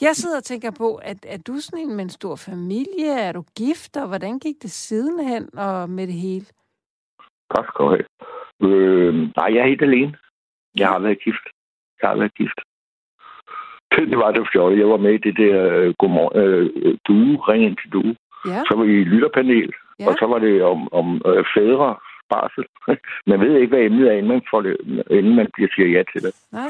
[SPEAKER 3] Jeg sidder og tænker på, at er du sådan en med en stor familie? Er du gift, og hvordan gik det sidenhen og med det hele?
[SPEAKER 5] Godt, skal du have. Øhm, nej, jeg er helt alene. Jeg har været gift. Jeg har været gift. Det var det fjollet. Jeg var med i det der øh, godmorgen, øh, due, ring ind til due.
[SPEAKER 3] Ja,
[SPEAKER 5] Så var I lytterpanel,
[SPEAKER 3] Ja.
[SPEAKER 5] ja. og så var det om, om øh, fædre barsel. man ved ikke, hvad emnet er, inden man, får det, inden man bliver siger ja til det.
[SPEAKER 3] nej.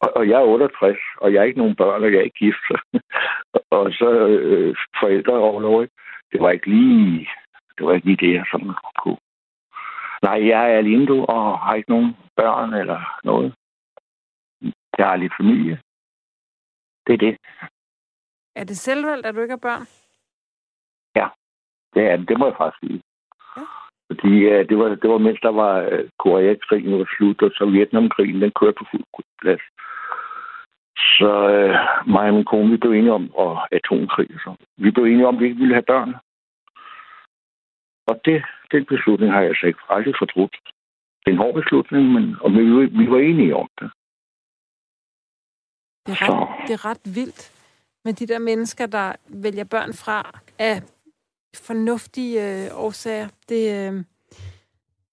[SPEAKER 5] Og, og jeg er 68, og jeg er ikke nogen børn, og jeg er ikke gift. og så øh, forældre og noget. Det var ikke lige det, var ikke lige det jeg sådan kunne. Nej, jeg er alene du, og har ikke nogen børn eller noget. Jeg har lidt familie. Det er det.
[SPEAKER 3] Er det selvvalgt, at du ikke har børn?
[SPEAKER 5] Det, er, det. det må jeg faktisk sige.
[SPEAKER 3] Ja.
[SPEAKER 5] Fordi øh, det, var, det var mens der var øh, Koreakrigen var slut, og så Vietnamkrigen, den kørte på fuld plads. Så øh, mig og min kone, vi blev enige om, og atomkrig og så. Vi blev enige om, at vi ikke ville have børn. Og det, den beslutning har jeg altså ikke aldrig fortrudt. Det er en hård beslutning, men, og vi, vi var enige om det.
[SPEAKER 3] Det er
[SPEAKER 5] Så,
[SPEAKER 3] ret, det er ret vildt med de der mennesker, der vælger børn fra af fornuftige øh, årsager. Det, øh,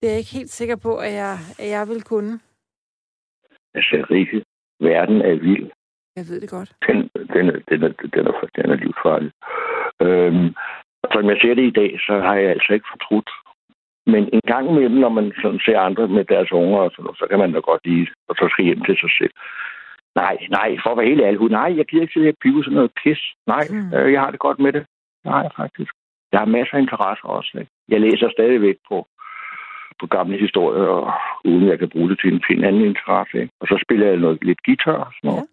[SPEAKER 3] det er jeg ikke helt sikker på, at jeg, at jeg vil kunne.
[SPEAKER 5] altså, Rikke, verden er vild.
[SPEAKER 3] Jeg ved det godt.
[SPEAKER 5] den, den, er- den, er, den, er, den er livsfarlig. Øhm, som jeg ser det i dag, så har jeg altså ikke fortrudt. Men en gang imellem, når man sådan ser andre med deres unger, og sådan, noget, så kan man da godt lige, og så skal hjem til sig selv. Nej, nej, for at være helt ærlig, nej, jeg gider ikke til at pive sådan noget pis. Nej,
[SPEAKER 3] Mm.
[SPEAKER 5] øh, jeg har det godt med det. Nej, faktisk. Jeg har masser af interesser også. Ikke? Jeg læser stadigvæk på, på gamle historier, og uden jeg kan bruge det til en, til en anden interesse. Ikke? Og så spiller jeg noget, lidt guitar og sådan noget.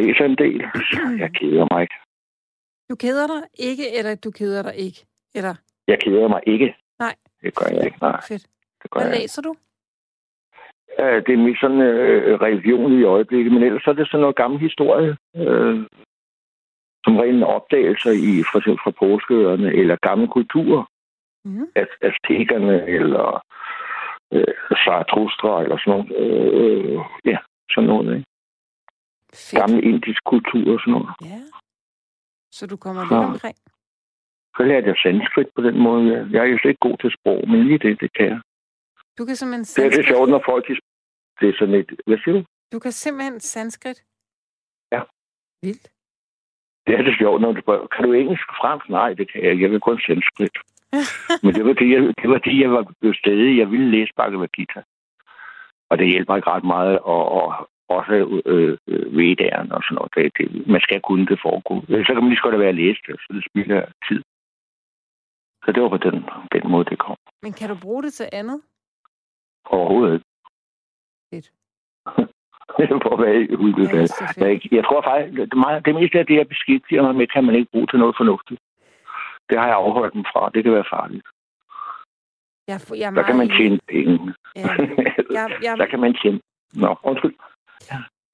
[SPEAKER 5] læser en del, så jeg keder mig ikke.
[SPEAKER 3] Du keder dig ikke, eller du keder dig ikke? Eller,
[SPEAKER 5] Jeg keder mig ikke.
[SPEAKER 3] Nej.
[SPEAKER 5] Det gør jeg ikke, nej.
[SPEAKER 3] fedt.
[SPEAKER 5] Det gør
[SPEAKER 3] Hvad
[SPEAKER 5] jeg ikke.
[SPEAKER 3] læser du?
[SPEAKER 5] Ja, det er mest sådan øh, religion i øjeblikket, men ellers så er det sådan noget gammel historie. Øh, som rene opdagelser i, for eksempel fra påskeøerne, eller gamle kulturer.
[SPEAKER 3] Mhm.
[SPEAKER 5] Az- Aztekerne, eller øh, Zarathustra, eller sådan noget. Øh, ja, sådan noget. Ikke?
[SPEAKER 3] Fedt.
[SPEAKER 5] Gammel indisk kultur og sådan noget.
[SPEAKER 3] Ja. Så du kommer
[SPEAKER 5] Så-
[SPEAKER 3] lidt omkring.
[SPEAKER 5] Så lærte jeg sanskrit på den måde. Jeg- Jeg er jo slet ikke god til sprog, men lige det, det kan jeg.
[SPEAKER 3] Du kan simpelthen
[SPEAKER 5] Det er lidt
[SPEAKER 3] sanskrit.
[SPEAKER 5] sjovt, når folk... De, det er sådan et... Hvad siger du?
[SPEAKER 3] Du kan simpelthen sanskrit.
[SPEAKER 5] Ja.
[SPEAKER 3] Vildt.
[SPEAKER 5] Det er det sjovt, når du spørger, kan du engelsk og fransk? Nej, det kan jeg. ikke. Jeg kan kun sanskrit. Men det var det, jeg, det var det, jeg var blevet stedig. Jeg ville læse Bhagavad Gita. Og det hjælper ikke ret meget. Og, og også øh, øh, vedderen og sådan noget. Det, det, man skal kunne det foregå. Ellers Så kan man lige så godt lade være at læse det, så det spilder tid. Så det var på den, den måde, det kom.
[SPEAKER 3] Men kan du bruge det til andet?
[SPEAKER 5] Overhovedet ikke.
[SPEAKER 3] Fedt.
[SPEAKER 5] på at være udviklet.
[SPEAKER 3] det er så
[SPEAKER 5] Jeg,
[SPEAKER 3] fedt.
[SPEAKER 5] jeg tror faktisk, det, meget, det meste af det, jeg beskæftiger mig med, kan man ikke bruge til noget fornuftigt. Det har jeg afholdt dem fra. Det kan være farligt.
[SPEAKER 3] Jeg, er fu- jeg er
[SPEAKER 5] Der
[SPEAKER 3] meget
[SPEAKER 5] kan man
[SPEAKER 3] enig.
[SPEAKER 5] tjene penge.
[SPEAKER 3] Ja. Jeg, jeg,
[SPEAKER 5] Der kan man tjene... Nå, undskyld.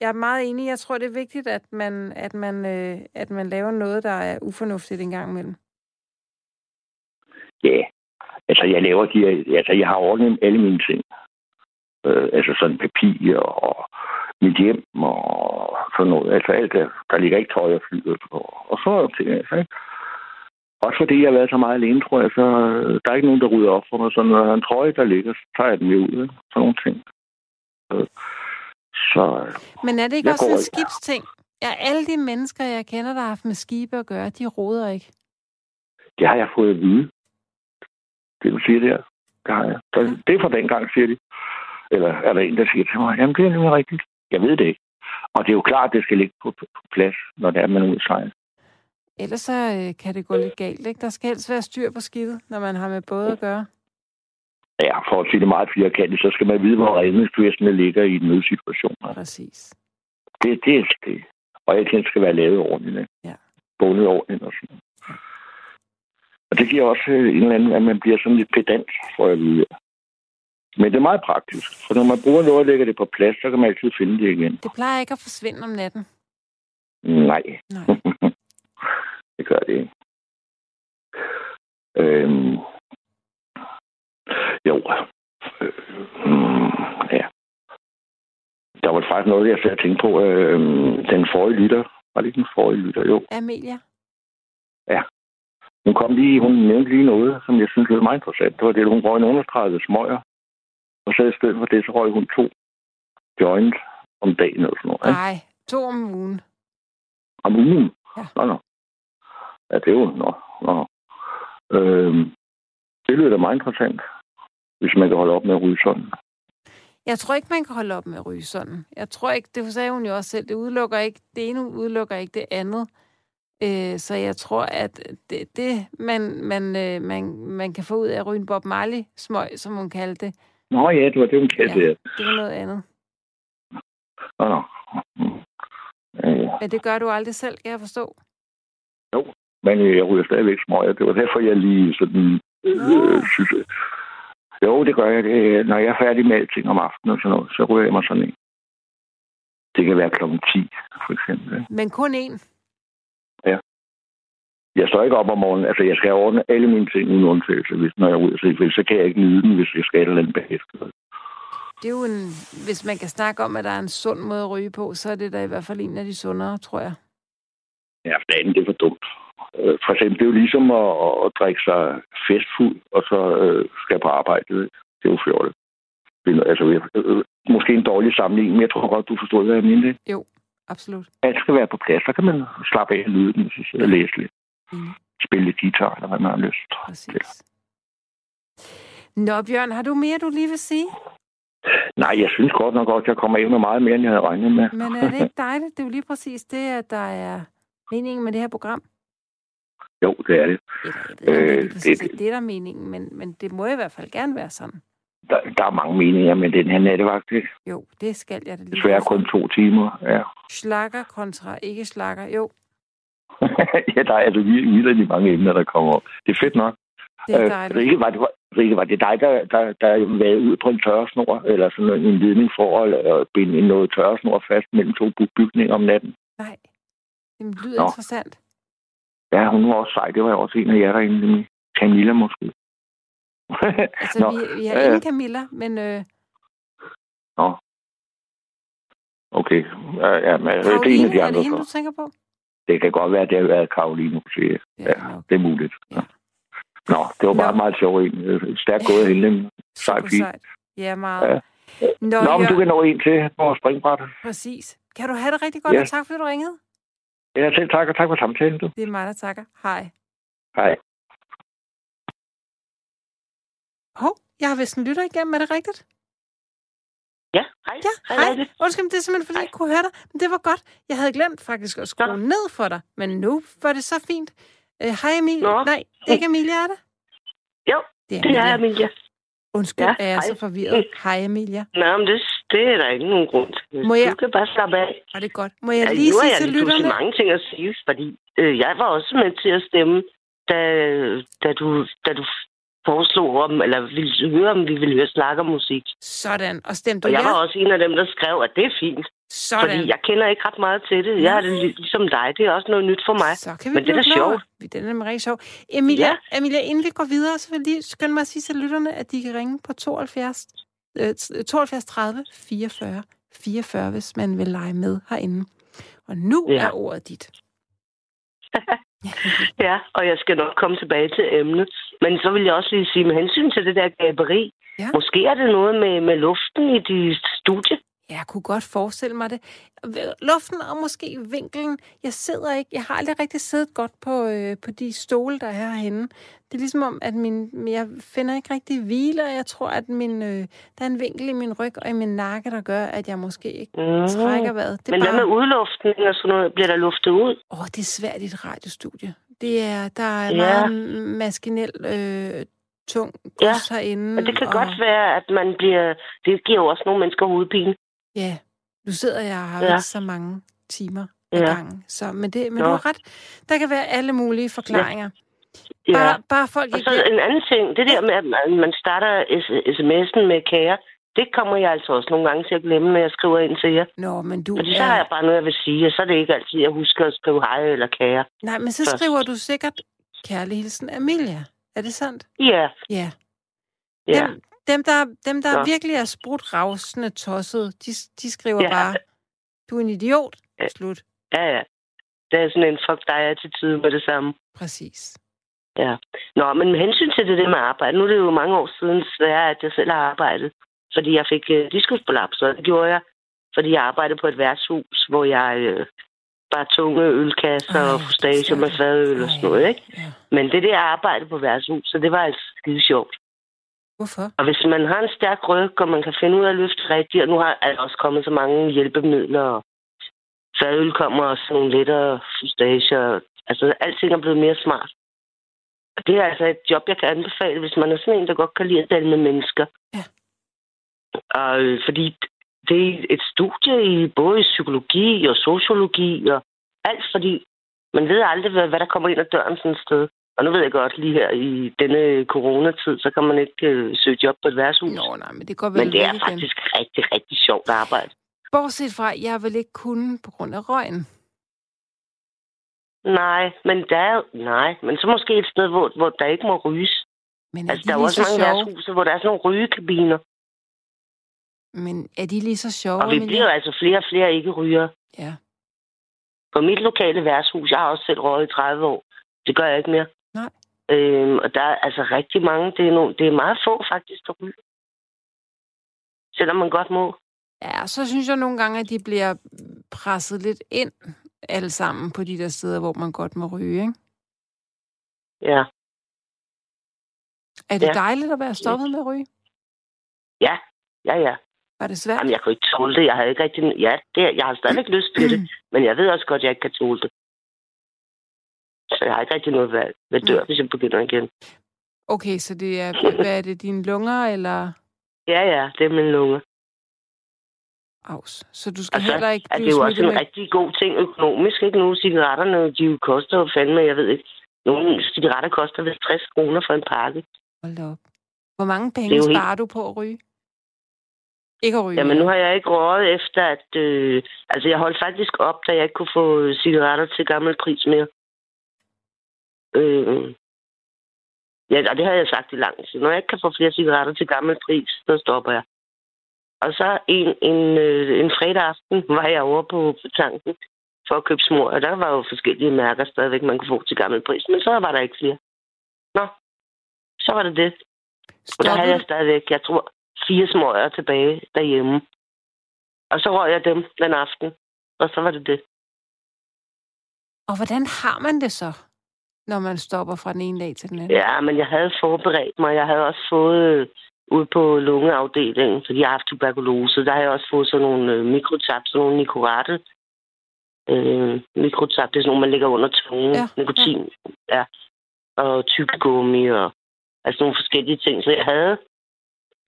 [SPEAKER 3] Jeg er meget enig. Jeg tror, det er vigtigt, at man, at man, øh, at man laver noget, der er ufornuftigt en gang imellem.
[SPEAKER 5] Ja. Altså, jeg laver de her... Altså, jeg har ordnet alle mine ting. Øh, altså sådan papir og mit hjem og sådan noget. Altså alt der. Der ligger ikke tøj og flyder og, og sådan noget ting. Altså, ikke? Også fordi jeg har været så meget alene, tror jeg, så øh, der er ikke nogen, der rydder op for mig. Så når der er en trøje, der ligger, så tager jeg den med ud. Ikke? Sådan nogle ting. Øh, Så
[SPEAKER 3] Men er det ikke
[SPEAKER 5] Jeg
[SPEAKER 3] også
[SPEAKER 5] går
[SPEAKER 3] en
[SPEAKER 5] ikke.
[SPEAKER 3] skibsting? Ja, alle de mennesker, jeg kender, der har haft med skibe at gøre, de roder ikke.
[SPEAKER 5] det har jeg fået at vide. Det, du siger der, det har jeg. Så, det er fra dengang, siger de. Eller er der en, der siger til mig, jamen det er nemlig rigtigt. Jeg ved det ikke. Og det er jo klart, at det skal ligge på, på plads, når det er, man udsejler.
[SPEAKER 3] Ellers så øh, kan det gå lidt galt, ikke? Der skal helst være styr på skidtet, når man har med både at gøre.
[SPEAKER 5] Ja, for at sige det meget firkantet, så skal man vide, hvor redningsvæsenet ligger i en nødsituation.
[SPEAKER 3] Præcis.
[SPEAKER 5] Det, det er det. Og alt det skal være lavet ordentligt. ikke?
[SPEAKER 3] Ja.
[SPEAKER 5] Bundet ordentligt og sådan noget. Og det giver også øh, en eller anden, at man bliver sådan lidt pedant, tror jeg lige. Men det er meget praktisk, for når man bruger noget og lægger det på plads, så kan man altid finde det igen.
[SPEAKER 3] Det plejer ikke at forsvinde om natten.
[SPEAKER 5] Nej,
[SPEAKER 3] Nej.
[SPEAKER 5] det gør det ikke. Øhm. Jo. Øh, mm, ja. Der var faktisk noget, jeg sad og tænkte på. Øh, den forrige lytter. Var det ikke den forrige lytter? Jo.
[SPEAKER 3] Amelia?
[SPEAKER 5] Hun kom lige, hun nævnte lige noget, som jeg synes var meget interessant. Det var det, hun røg en understreget smøger. Og så i stedet for det, så røg hun to joints om dagen eller sådan noget. ikke?
[SPEAKER 3] Nej. To om ugen.
[SPEAKER 5] Om ugen?
[SPEAKER 3] Ah. Ja.
[SPEAKER 5] Nå, nå. Ja, det er jo... Nå, nå. Øhm, det lyder da meget interessant, hvis man kan holde op med at ryge sådan.
[SPEAKER 3] Jeg tror ikke, man kan holde op med at ryge sådan. Jeg tror ikke, det sagde hun jo også selv, det udelukker ikke, det ene udelukker ikke det andet. Øh, så jeg tror, at det, det man, man, øh, man, man kan få ud af at ryge en Bob Marley smøg, som hun kaldte det,
[SPEAKER 5] Nå ja, det var det, hun kaldte
[SPEAKER 3] Ja.
[SPEAKER 5] det.
[SPEAKER 3] det er noget andet.
[SPEAKER 5] Nå, nå. Mm. Øh,
[SPEAKER 3] Men det gør du aldrig selv, kan jeg forstå.
[SPEAKER 5] men øh, jeg ryger stadigvæk smøger. Det var derfor, jeg lige sådan... Øh,
[SPEAKER 3] Nå.
[SPEAKER 5] synes, øh. Jo, det gør jeg. Det, er, når jeg er færdig med alting om aftenen og sådan noget, så ryger jeg mig sådan en. Det kan være klokken 10, for eksempel. ikke?
[SPEAKER 3] Men kun én.
[SPEAKER 5] jeg står ikke op om morgenen. Altså, jeg skal ordne alle mine ting uden undtagelse, hvis, når jeg er ude at se film. Så kan jeg ikke nyde den, hvis jeg skal et eller andet bagefter.
[SPEAKER 3] Det er jo en, hvis man kan snakke om, at der er en sund måde at ryge på, så er det da i hvert fald en af de sundere, tror jeg.
[SPEAKER 5] Ja, for det andet, det er for dumt. Øh, For eksempel, det er jo ligesom at, at- at drikke sig festfuld, og så øh, skal på arbejde. ikke? Det er jo fjollet. Det er noget- Altså, jeg- øh, måske en dårlig sammenligning, men jeg tror godt, du forstod, hvad jeg mente. ikke?
[SPEAKER 3] Absolut.
[SPEAKER 5] Alt skal være på plads, så kan man slappe af og nyde den, synes jeg, og læse lidt.
[SPEAKER 3] Mm.
[SPEAKER 5] Spille lidt guitar, eller hvad man har lyst.
[SPEAKER 3] Præcis. Nå, Bjørn, har du mere, du lige vil sige?
[SPEAKER 5] Nej, jeg synes godt nok også, at jeg kommer af med meget mere, end jeg havde regnet med.
[SPEAKER 3] Men er det ikke dejligt? Det er jo lige præcis det, at der er meningen med det her program.
[SPEAKER 5] Jo, det er det.
[SPEAKER 3] Eller, jeg ved, ikke, om det, er
[SPEAKER 5] Øh,
[SPEAKER 3] lige præcis,
[SPEAKER 5] det-
[SPEAKER 3] at det er der er meningen, men, men det må i hvert fald gerne være sådan.
[SPEAKER 5] der, der er mange meninger med den her nattevagt. ikke?
[SPEAKER 3] Jo, det skal jeg da lige.
[SPEAKER 5] Desværre kun to timer. Ja,
[SPEAKER 3] Slakker kontra ikke slakker. Jo,
[SPEAKER 5] ja der er altså virkelig vildt de mange emner, der kommer op. Det er fedt nok.
[SPEAKER 3] det er
[SPEAKER 5] Øh,
[SPEAKER 3] dejligt.
[SPEAKER 5] Rikke, var det, Rikke, var det dig, der, der, der var ud på en tørresnor, eller sådan en ledning for at, at binde noget tørresnor fast mellem to bu- bygninger om natten?
[SPEAKER 3] Nej, det lyder
[SPEAKER 5] Nå.
[SPEAKER 3] interessant.
[SPEAKER 5] Ja, hun var også sej. Det var også en af jer derinde, nemlig Camilla måske.
[SPEAKER 3] Altså,
[SPEAKER 5] Nå,
[SPEAKER 3] vi, vi
[SPEAKER 5] ja,
[SPEAKER 3] har
[SPEAKER 5] ja.
[SPEAKER 3] ingen Camilla, men øh,
[SPEAKER 5] okay. Ja, ja, men, øh, det er en
[SPEAKER 3] Karoline,
[SPEAKER 5] af de
[SPEAKER 3] er
[SPEAKER 5] andre.
[SPEAKER 3] det hende, du
[SPEAKER 5] så.
[SPEAKER 3] tænker på?
[SPEAKER 5] Det kan godt være, at det har været Karoline, hun siger.
[SPEAKER 3] Det
[SPEAKER 5] Ja,
[SPEAKER 3] er nok.
[SPEAKER 5] det er muligt. Ja. Nå, det var bare
[SPEAKER 3] Nå.
[SPEAKER 5] meget sjovt. en. Øh, Stærkt gået af hende. nemlig. sej
[SPEAKER 3] Super
[SPEAKER 5] pige.
[SPEAKER 3] sejt. Ja, meget.
[SPEAKER 5] Ja.
[SPEAKER 3] Nå,
[SPEAKER 5] Nå, men du
[SPEAKER 3] kan...
[SPEAKER 5] kan nå en til på springbrættet.
[SPEAKER 3] præcis. Kan du have det rigtig godt,
[SPEAKER 5] Ja.
[SPEAKER 3] og tak fordi du ringede.
[SPEAKER 5] Ja, selv tak, og tak for samtalen, du.
[SPEAKER 3] Det er mig, der takker. Hej.
[SPEAKER 5] Hej.
[SPEAKER 3] Hov, jeg har vist en lytter igennem, er det rigtigt?
[SPEAKER 6] Ja, hej.
[SPEAKER 3] Ja,
[SPEAKER 6] Hvad
[SPEAKER 3] hej.
[SPEAKER 6] er det?
[SPEAKER 3] Undskyld, men det er simpelthen, fordi jeg ikke kunne høre dig. Men det var godt. Jeg havde glemt faktisk at skrue
[SPEAKER 6] Nå.
[SPEAKER 3] ned for dig, men nu var det så fint. Øh, Hej Emilie.
[SPEAKER 6] Nå.
[SPEAKER 3] Nej, ikke Emilie er det?
[SPEAKER 6] Jo,
[SPEAKER 3] det er
[SPEAKER 6] Det er
[SPEAKER 3] Emilie.
[SPEAKER 6] Amelia.
[SPEAKER 3] Undskyld,
[SPEAKER 6] Ja,
[SPEAKER 3] er jeg
[SPEAKER 6] hej.
[SPEAKER 3] så forvirret. Hej Emilie.
[SPEAKER 6] Nå, men det, det er der ikke nogen grund til.
[SPEAKER 3] Må jeg-
[SPEAKER 6] Du kan bare slappe af.
[SPEAKER 3] Og det er godt. Må jeg
[SPEAKER 6] Ja,
[SPEAKER 3] lige
[SPEAKER 6] nu har
[SPEAKER 3] sige
[SPEAKER 6] jeg
[SPEAKER 3] til
[SPEAKER 6] lige pludselig
[SPEAKER 3] lytterne?
[SPEAKER 6] mange ting at sige, fordi øh, jeg var også med til at stemme, da, da, du, da du foreslog om, eller ville høre, om vi ville høre snakke om musik.
[SPEAKER 3] Sådan. Og stemte
[SPEAKER 6] Og
[SPEAKER 3] du
[SPEAKER 6] jeg var
[SPEAKER 3] ja?
[SPEAKER 6] også en af dem, der skrev, at det er fint, fordi
[SPEAKER 3] Sådan.
[SPEAKER 6] jeg kender ikke ret meget til det. Jeg er det lig- ligesom dig, det er også noget nyt for mig.
[SPEAKER 3] Så kan vi
[SPEAKER 6] Men det er
[SPEAKER 3] blive
[SPEAKER 6] da
[SPEAKER 3] klogere.
[SPEAKER 6] sjovt.
[SPEAKER 3] Vi- Den er nemlig rigtig sjov. Emilia, ja. Emilia, inden vi går videre, så vil jeg lige skynde mig at sige til lytterne, at de kan ringe på 72, øh, t- 72 30 44 44, hvis man vil lege med herinde. Og nu ja.
[SPEAKER 6] Ja.
[SPEAKER 3] er ordet dit.
[SPEAKER 6] Ja, og jeg skal nok komme tilbage til emnet. Men så vil jeg også lige sige, med hensyn til det der gaberi,
[SPEAKER 3] Ja.
[SPEAKER 6] ja. måske er det noget med, med luften i dit studie.
[SPEAKER 3] Jeg kunne godt forestille mig det. V- Luften og måske vinkelen. Jeg sidder ikke. Jeg har aldrig rigtig siddet godt på, øh, på de stole, der er herhenne. Det er ligesom om, at min, jeg finder ikke rigtig hvile, og jeg tror, at min, øh, der er en vinkel i min ryg og i min nakke, der gør, at jeg måske ikke
[SPEAKER 6] Mm.
[SPEAKER 3] trækker vejret. Det
[SPEAKER 6] Men
[SPEAKER 3] er
[SPEAKER 6] hvad
[SPEAKER 3] bare...
[SPEAKER 6] med udluftning og sådan noget? Bliver der luftet ud?
[SPEAKER 3] Åh, det er svært i et radiostudie. Det er, der er
[SPEAKER 6] Ja.
[SPEAKER 3] meget maskinel, øh, tung gods
[SPEAKER 6] Ja,
[SPEAKER 3] herinde.
[SPEAKER 6] Men det kan godt være, at man bliver... Det giver jo også nogle mennesker hovedpine.
[SPEAKER 3] Ja, nu sidder jeg her
[SPEAKER 6] Ja.
[SPEAKER 3] ja. så mange timer ad
[SPEAKER 6] Ja.
[SPEAKER 3] gangen. Så, men det, men
[SPEAKER 6] Nå.
[SPEAKER 3] du har ret. Der kan være alle mulige forklaringer.
[SPEAKER 6] Ja.
[SPEAKER 3] Bare, bare folk
[SPEAKER 6] og
[SPEAKER 3] ikke...
[SPEAKER 6] så en anden ting. Det der med, at man- man starter s- sms'en med kære, det kommer jeg altså også nogle gange til at glemme, når jeg skriver ind til jer.
[SPEAKER 3] Nå, men du
[SPEAKER 6] Fordi så har jeg bare noget, jeg vil sige, og så er det ikke altid, jeg husker at skrive hej eller kære.
[SPEAKER 3] Nej, men så
[SPEAKER 6] først.
[SPEAKER 3] skriver du sikkert kærlig hilsen Amelia. Er det sandt?
[SPEAKER 6] Ja,
[SPEAKER 3] Ja.
[SPEAKER 6] ja.
[SPEAKER 3] Dem, dem, der, dem, der
[SPEAKER 6] Nå.
[SPEAKER 3] virkelig er sprudt ravsende tosset, de, de skriver
[SPEAKER 6] Ja.
[SPEAKER 3] bare, du er en idiot.
[SPEAKER 6] Ja.
[SPEAKER 3] Slut.
[SPEAKER 6] Ja, ja. Det er sådan en fuck dig-attitude med det samme.
[SPEAKER 3] Præcis.
[SPEAKER 6] Nå, men med hensyn til det der med arbejde, nu er det jo mange år siden, desværre, at jeg selv har arbejdet, fordi jeg fik øh, diskusprolaps, og det gjorde jeg, fordi jeg arbejdede på et værtshus, hvor jeg øh, var tunge ølkasser
[SPEAKER 3] Ej,
[SPEAKER 6] og frustage med
[SPEAKER 3] stakkels.
[SPEAKER 6] fadøl og sådan noget, ikke?
[SPEAKER 3] Ja.
[SPEAKER 6] Men det der arbejde på værtshus, så det var altså skide sjovt.
[SPEAKER 3] Hvorfor?
[SPEAKER 6] Og hvis man har en stærk ryg, og man kan finde ud af at løfte rigtigt, og nu har er der også kommet så mange hjælpemidler, og fadøl kommer og sådan nogle lettere fustager. Altså, alting er blevet mere smart. Og det er altså et job, jeg kan anbefale, hvis man er sådan en, der godt kan lide at tale med mennesker.
[SPEAKER 3] Ja.
[SPEAKER 6] Og, øh, fordi det er et studie i både i psykologi og sociologi og alt, fordi man ved aldrig, hvad, hvad der kommer ind ad døren sådan et sted. Og nu ved jeg godt, lige her i denne coronatid, så kan man ikke øh, søge job på et værtshus.
[SPEAKER 3] Nå, nej, men det går vel
[SPEAKER 6] Men det er
[SPEAKER 3] ikke igen.
[SPEAKER 6] faktisk rigtig, rigtig sjovt arbejde.
[SPEAKER 3] Bortset fra, at jeg vil ikke kunne på grund af røgen.
[SPEAKER 6] Nej, men der er jo- nej, men så måske et sted, hvor, hvor der ikke må ryges.
[SPEAKER 3] Men er altså,
[SPEAKER 6] Altså, der
[SPEAKER 3] de
[SPEAKER 6] er jo
[SPEAKER 3] lige
[SPEAKER 6] også
[SPEAKER 3] så
[SPEAKER 6] mange
[SPEAKER 3] sjove?
[SPEAKER 6] værtshuse, hvor der er sådan nogle rygekabiner.
[SPEAKER 3] Men er de lige så sjove?
[SPEAKER 6] Og vi
[SPEAKER 3] Emilie?
[SPEAKER 6] bliver jo altså flere og flere ikke ryger.
[SPEAKER 3] Ja.
[SPEAKER 6] På mit lokale værtshus, jeg har også selv røget i 30 år. Det gør jeg ikke mere.
[SPEAKER 3] Nej.
[SPEAKER 6] Øhm, og der er altså rigtig mange. Det er, nogle, det er meget få faktisk, der ryger. Selvom man godt må.
[SPEAKER 3] Ja, så synes jeg nogle gange, at de bliver presset lidt ind alle sammen på de der steder, hvor man godt må ryge, ikke?
[SPEAKER 6] Ja.
[SPEAKER 3] Er det
[SPEAKER 6] Ja.
[SPEAKER 3] dejligt at være stoppet med at ryge?
[SPEAKER 6] Ja, ja.
[SPEAKER 3] Var det svært?
[SPEAKER 6] Jamen, jeg kunne ikke tåle det. Jeg havde ikke rigtig... Ja, det, jeg har stadigvæk lyst til det, men jeg ved også godt, at jeg ikke kan tåle det. Så jeg har ikke rigtig noget valg. Jeg dør, hvis jeg begynder igen.
[SPEAKER 3] Okay, så det er, hvad er det, dine lunger, eller...
[SPEAKER 6] Ja, ja, det er min lunge.
[SPEAKER 3] Aus. Så du skal
[SPEAKER 6] Og så
[SPEAKER 3] heller ikke
[SPEAKER 6] Er
[SPEAKER 3] blive
[SPEAKER 6] Altså, det er jo også
[SPEAKER 3] smittet
[SPEAKER 6] en
[SPEAKER 3] med...
[SPEAKER 6] rigtig god ting økonomisk, ikke? Nu cigaretterne, de jo koster jo fandme, jeg ved ikke. Nogle cigaretter koster vist 60 kroner for en pakke.
[SPEAKER 3] Hold da op. Hvor mange
[SPEAKER 6] Det er
[SPEAKER 3] penge
[SPEAKER 6] jo helt-
[SPEAKER 3] sparer du på at ryge? Ikke at ryge.
[SPEAKER 6] Jamen, nu har jeg ikke røget efter, at... Øh, altså, jeg holdt faktisk op, da jeg ikke kunne få øh, cigaretter til gammel pris mere. Øh, ja, og det har jeg sagt i lang tid. Når jeg ikke kan få flere cigaretter til gammel pris, så stopper jeg. Og så en, en, øh, en fredag aften var jeg over på tanken for at købe smør, og der var jo forskellige mærker stadigvæk, man kunne få til gammel pris, men så var der ikke flere. Nå, så var det det. Og der havde jeg
[SPEAKER 3] Stoppede,
[SPEAKER 6] stadigvæk, jeg tror, fire smøger tilbage derhjemme. Og så røg jeg dem den aften. Og så var det det.
[SPEAKER 3] og hvordan har man det så, når man stopper fra den ene dag til den anden?
[SPEAKER 6] Ja, men jeg havde forberedt mig. Jeg havde også fået øh, ude på lungeafdelingen, fordi jeg har haft tuberkulose. Der har jeg også fået sådan nogle øh, mikrotab, sådan nogle nikorate. Øh, mikrotab, det er sådan nogle, man lægger under tungen.
[SPEAKER 3] Ja,
[SPEAKER 6] Ja, Nikotin, ja. ja. Og tyggegummi og altså nogle forskellige ting. Så jeg havde,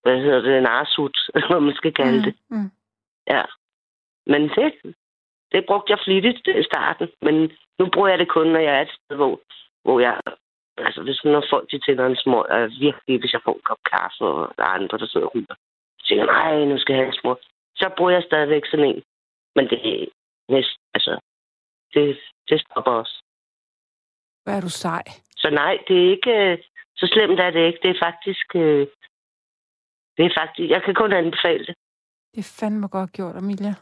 [SPEAKER 6] hvad hedder det, en arsut, eller hvad man skal kalde mm. det.
[SPEAKER 3] Mm, mm.
[SPEAKER 6] Men det, det brugte jeg flittigt i starten. Men nu bruger jeg det kun, når jeg er et sted, hvor, hvor jeg... Altså, hvis når folk de tænder en små, og virkelig, hvis jeg får en kop kaffe, og der er andre, der sidder og ryger, så tænker jeg, nej, nu skal jeg have en små. Så bruger jeg stadigvæk sådan en. Men det er næst, altså, det, det stopper også.
[SPEAKER 3] Hvor er du sej.
[SPEAKER 6] Så nej, det er ikke... øh, Så slemt er det ikke. Det er faktisk... øh, Det er faktisk... Jeg kan kun anbefale det.
[SPEAKER 3] Det er fandme godt gjort, Amelia.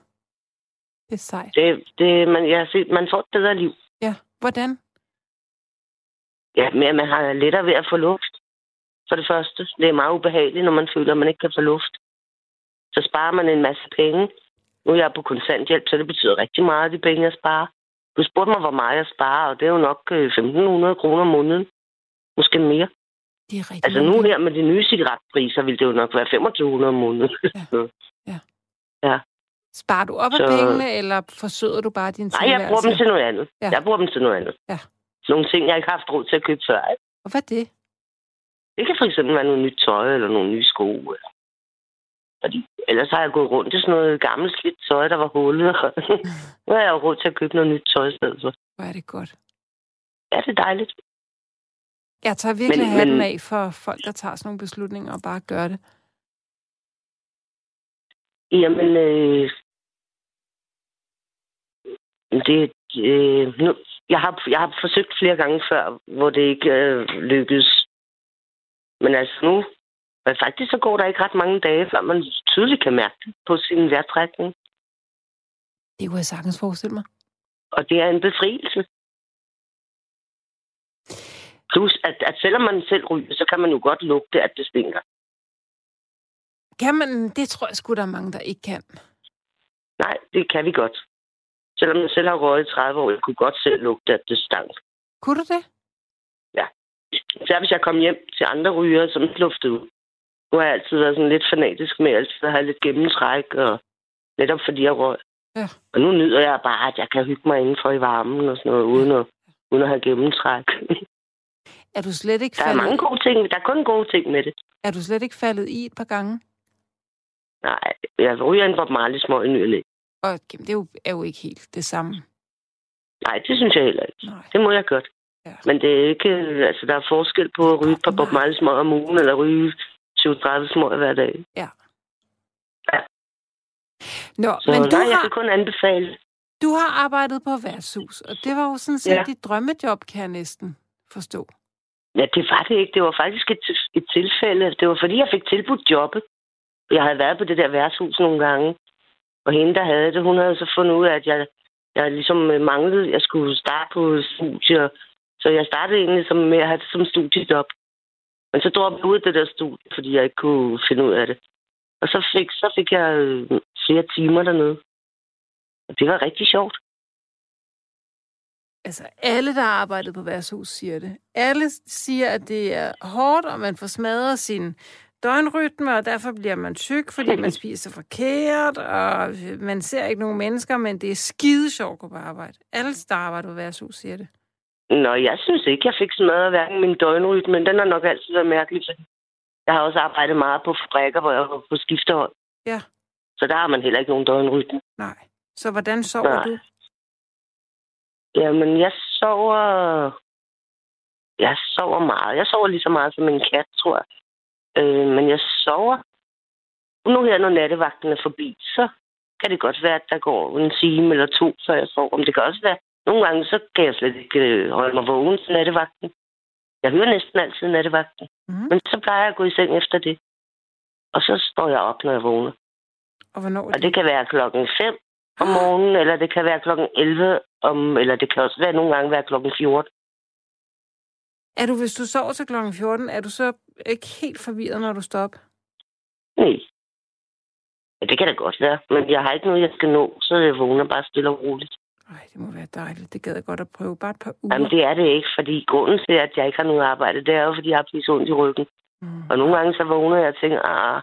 [SPEAKER 3] Det er sejt.
[SPEAKER 6] det, det man, jeg har set, man får et bedre liv.
[SPEAKER 3] Ja, hvordan?
[SPEAKER 6] Ja, men at man har lettere ved at få luft. For det første, det er meget ubehageligt, når man føler, at man ikke kan få luft. Så sparer man en masse penge. Nu er jeg på kontanthjælp, så det betyder rigtig meget, de penge, jeg sparer. Du spurgte mig, hvor meget jeg sparer, og det er jo nok øh, 1.500 kroner om måneden. Måske mere.
[SPEAKER 3] Det er rigtig
[SPEAKER 6] Altså
[SPEAKER 3] mange
[SPEAKER 6] nu
[SPEAKER 3] penge.
[SPEAKER 6] her med de nye cigaretpriser, vil det jo nok være 2.500 om måneden.
[SPEAKER 3] Sparer du op af
[SPEAKER 6] så-
[SPEAKER 3] pengene, eller forsøger du bare din
[SPEAKER 6] Nej, jeg bruger dem til noget andet.
[SPEAKER 3] Ja.
[SPEAKER 6] Jeg bruger dem til noget andet.
[SPEAKER 3] Ja.
[SPEAKER 6] Nogle ting, jeg ikke har haft råd til at købe før. ikke?
[SPEAKER 3] Og hvad er det?
[SPEAKER 6] Det kan for eksempel være noget nyt tøj, eller nogle nye sko. Eller... Fordi ellers har jeg gået rundt i sådan noget gammelt slidt tøj, der var hullet. og nu har jeg jo råd til at købe noget nyt tøj i stedet for.
[SPEAKER 3] Hvor er det godt.
[SPEAKER 6] Ja, det er dejligt.
[SPEAKER 3] Jeg tager virkelig
[SPEAKER 6] Men-
[SPEAKER 3] hatten
[SPEAKER 6] men-
[SPEAKER 3] af for folk, der tager sådan nogle beslutninger og bare gør det.
[SPEAKER 6] Jamen, øh... det, øh... Nu... Jeg, har, jeg har forsøgt flere gange før, hvor det ikke øh, lykkedes. Men altså nu, men faktisk så går der ikke ret mange dage, før man tydeligt kan mærke det på sin vejrtrækning.
[SPEAKER 3] Det kunne jeg sagtens forestille mig.
[SPEAKER 6] Og det er en befrielse. Plus, at, at selvom man selv ryger, så kan man jo godt lugte, at det stinker.
[SPEAKER 3] Kan man? Det tror jeg sgu, der er mange, der ikke kan.
[SPEAKER 6] Nej, det kan vi godt. Selvom jeg selv har røget i 30 år, jeg kunne godt selv lugte, at det stank.
[SPEAKER 3] Kunne du det?
[SPEAKER 6] Så hvis jeg kom hjem til andre rygere, som ikke luftede ud. Nu har jeg altid været sådan lidt fanatisk med altid at have lidt gennemtræk, og netop fordi jeg røg.
[SPEAKER 3] Ja.
[SPEAKER 6] Og nu nyder jeg bare, at jeg kan hygge mig indenfor i varmen og sådan noget, uden at, uden at have gennemtræk.
[SPEAKER 3] Er du slet ikke
[SPEAKER 6] Der er
[SPEAKER 3] faldet,
[SPEAKER 6] mange gode ting. Der er kun gode ting med det.
[SPEAKER 3] er du slet ikke faldet i et par gange?
[SPEAKER 6] Nej, jeg ryger en Bob Marley smøg i ny og næ.
[SPEAKER 3] Og jamen, det er jo, er jo ikke helt det samme.
[SPEAKER 6] Nej, det synes jeg heller ikke.
[SPEAKER 3] Nej.
[SPEAKER 6] Det må jeg godt.
[SPEAKER 3] Ja.
[SPEAKER 6] Men det er ikke... øh, Altså, der er forskel på at ryge et par Bob Marley smøg om ugen, eller ryge 20-30 smøg hver dag.
[SPEAKER 3] Nå,
[SPEAKER 6] Så
[SPEAKER 3] men
[SPEAKER 6] nej,
[SPEAKER 3] du
[SPEAKER 6] jeg
[SPEAKER 3] har,
[SPEAKER 6] kan kun anbefale...
[SPEAKER 3] du har arbejdet på værtshus, og det var jo sådan set
[SPEAKER 6] Ja.
[SPEAKER 3] dit drømmejob, kan jeg næsten forstå.
[SPEAKER 6] Ja, det var det ikke. Det var faktisk et, til- et tilfælde. Det var, fordi jeg fik tilbudt jobbet. Jeg havde været på det der værtshus nogle gange. Og hende, der havde det, hun havde så fundet ud af, at jeg, jeg ligesom øh, manglede... Jeg skulle starte på studier. Så jeg startede egentlig som, med at have det som studiejob. Men så droppede jeg ud af det der studie, fordi jeg ikke kunne finde ud af det. Og så fik, så fik jeg øh, flere timer dernede. Og det var rigtig sjovt.
[SPEAKER 3] Altså, alle, der har arbejdet på værtshus, siger det. Alle siger, at det er hårdt, og man får smadret sin døgnrytme, og derfor bliver man tyk, fordi man spiser forkert, og man ser ikke nogen mennesker, men det er skide sjovt at gå på arbejde. Alle, der arbejder på værtshus, siger det.
[SPEAKER 6] Nå, jeg synes ikke, jeg fik smadret hverken min døgnrytme, men den har nok altid været mærkelig, fordi Jeg har også arbejdet meget på frækker, hvor jeg var på skifterhold.
[SPEAKER 3] Ja.
[SPEAKER 6] Så der har man heller ikke nogen døgnrytme.
[SPEAKER 3] Nej. Så hvordan sover
[SPEAKER 6] Nej.
[SPEAKER 3] du?
[SPEAKER 6] Jamen, jeg sover... Jeg sover meget. Jeg sover lige så meget som en kat, tror jeg. Øh, men jeg sover... Nu her, når nattevagten er forbi, så kan det godt være, at der går en time eller to, så jeg sover. Men det kan også være... Nogle gange, så kan jeg slet ikke øh, holde mig vågen til nattevagten. Jeg hører næsten altid nattevagten.
[SPEAKER 3] Mhm.
[SPEAKER 6] Mm. Men så plejer jeg at gå i seng efter det. Og så står jeg op, når jeg vågner.
[SPEAKER 3] Og hvornår er
[SPEAKER 6] Og det kan være klokken 5 om morgenen, eller det kan være klokken 11 om, eller det kan også være nogle gange være klokken 14.
[SPEAKER 3] Er du, hvis du sover til kl. 14, er du så ikke helt forvirret, når du står op?
[SPEAKER 6] Nej. Ja, det kan da godt være, men jeg har ikke noget, jeg skal nå, så jeg vågner bare stille og roligt.
[SPEAKER 3] Ej, det må være dejligt. Det gad jeg godt at prøve. Bare et par uger.
[SPEAKER 6] Jamen, det er det ikke, fordi grunden til, at jeg ikke har noget arbejde, det er jo, fordi jeg har blevet så ondt i ryggen.
[SPEAKER 3] Mm,
[SPEAKER 6] Og nogle gange så vågner jeg og tænker, ah,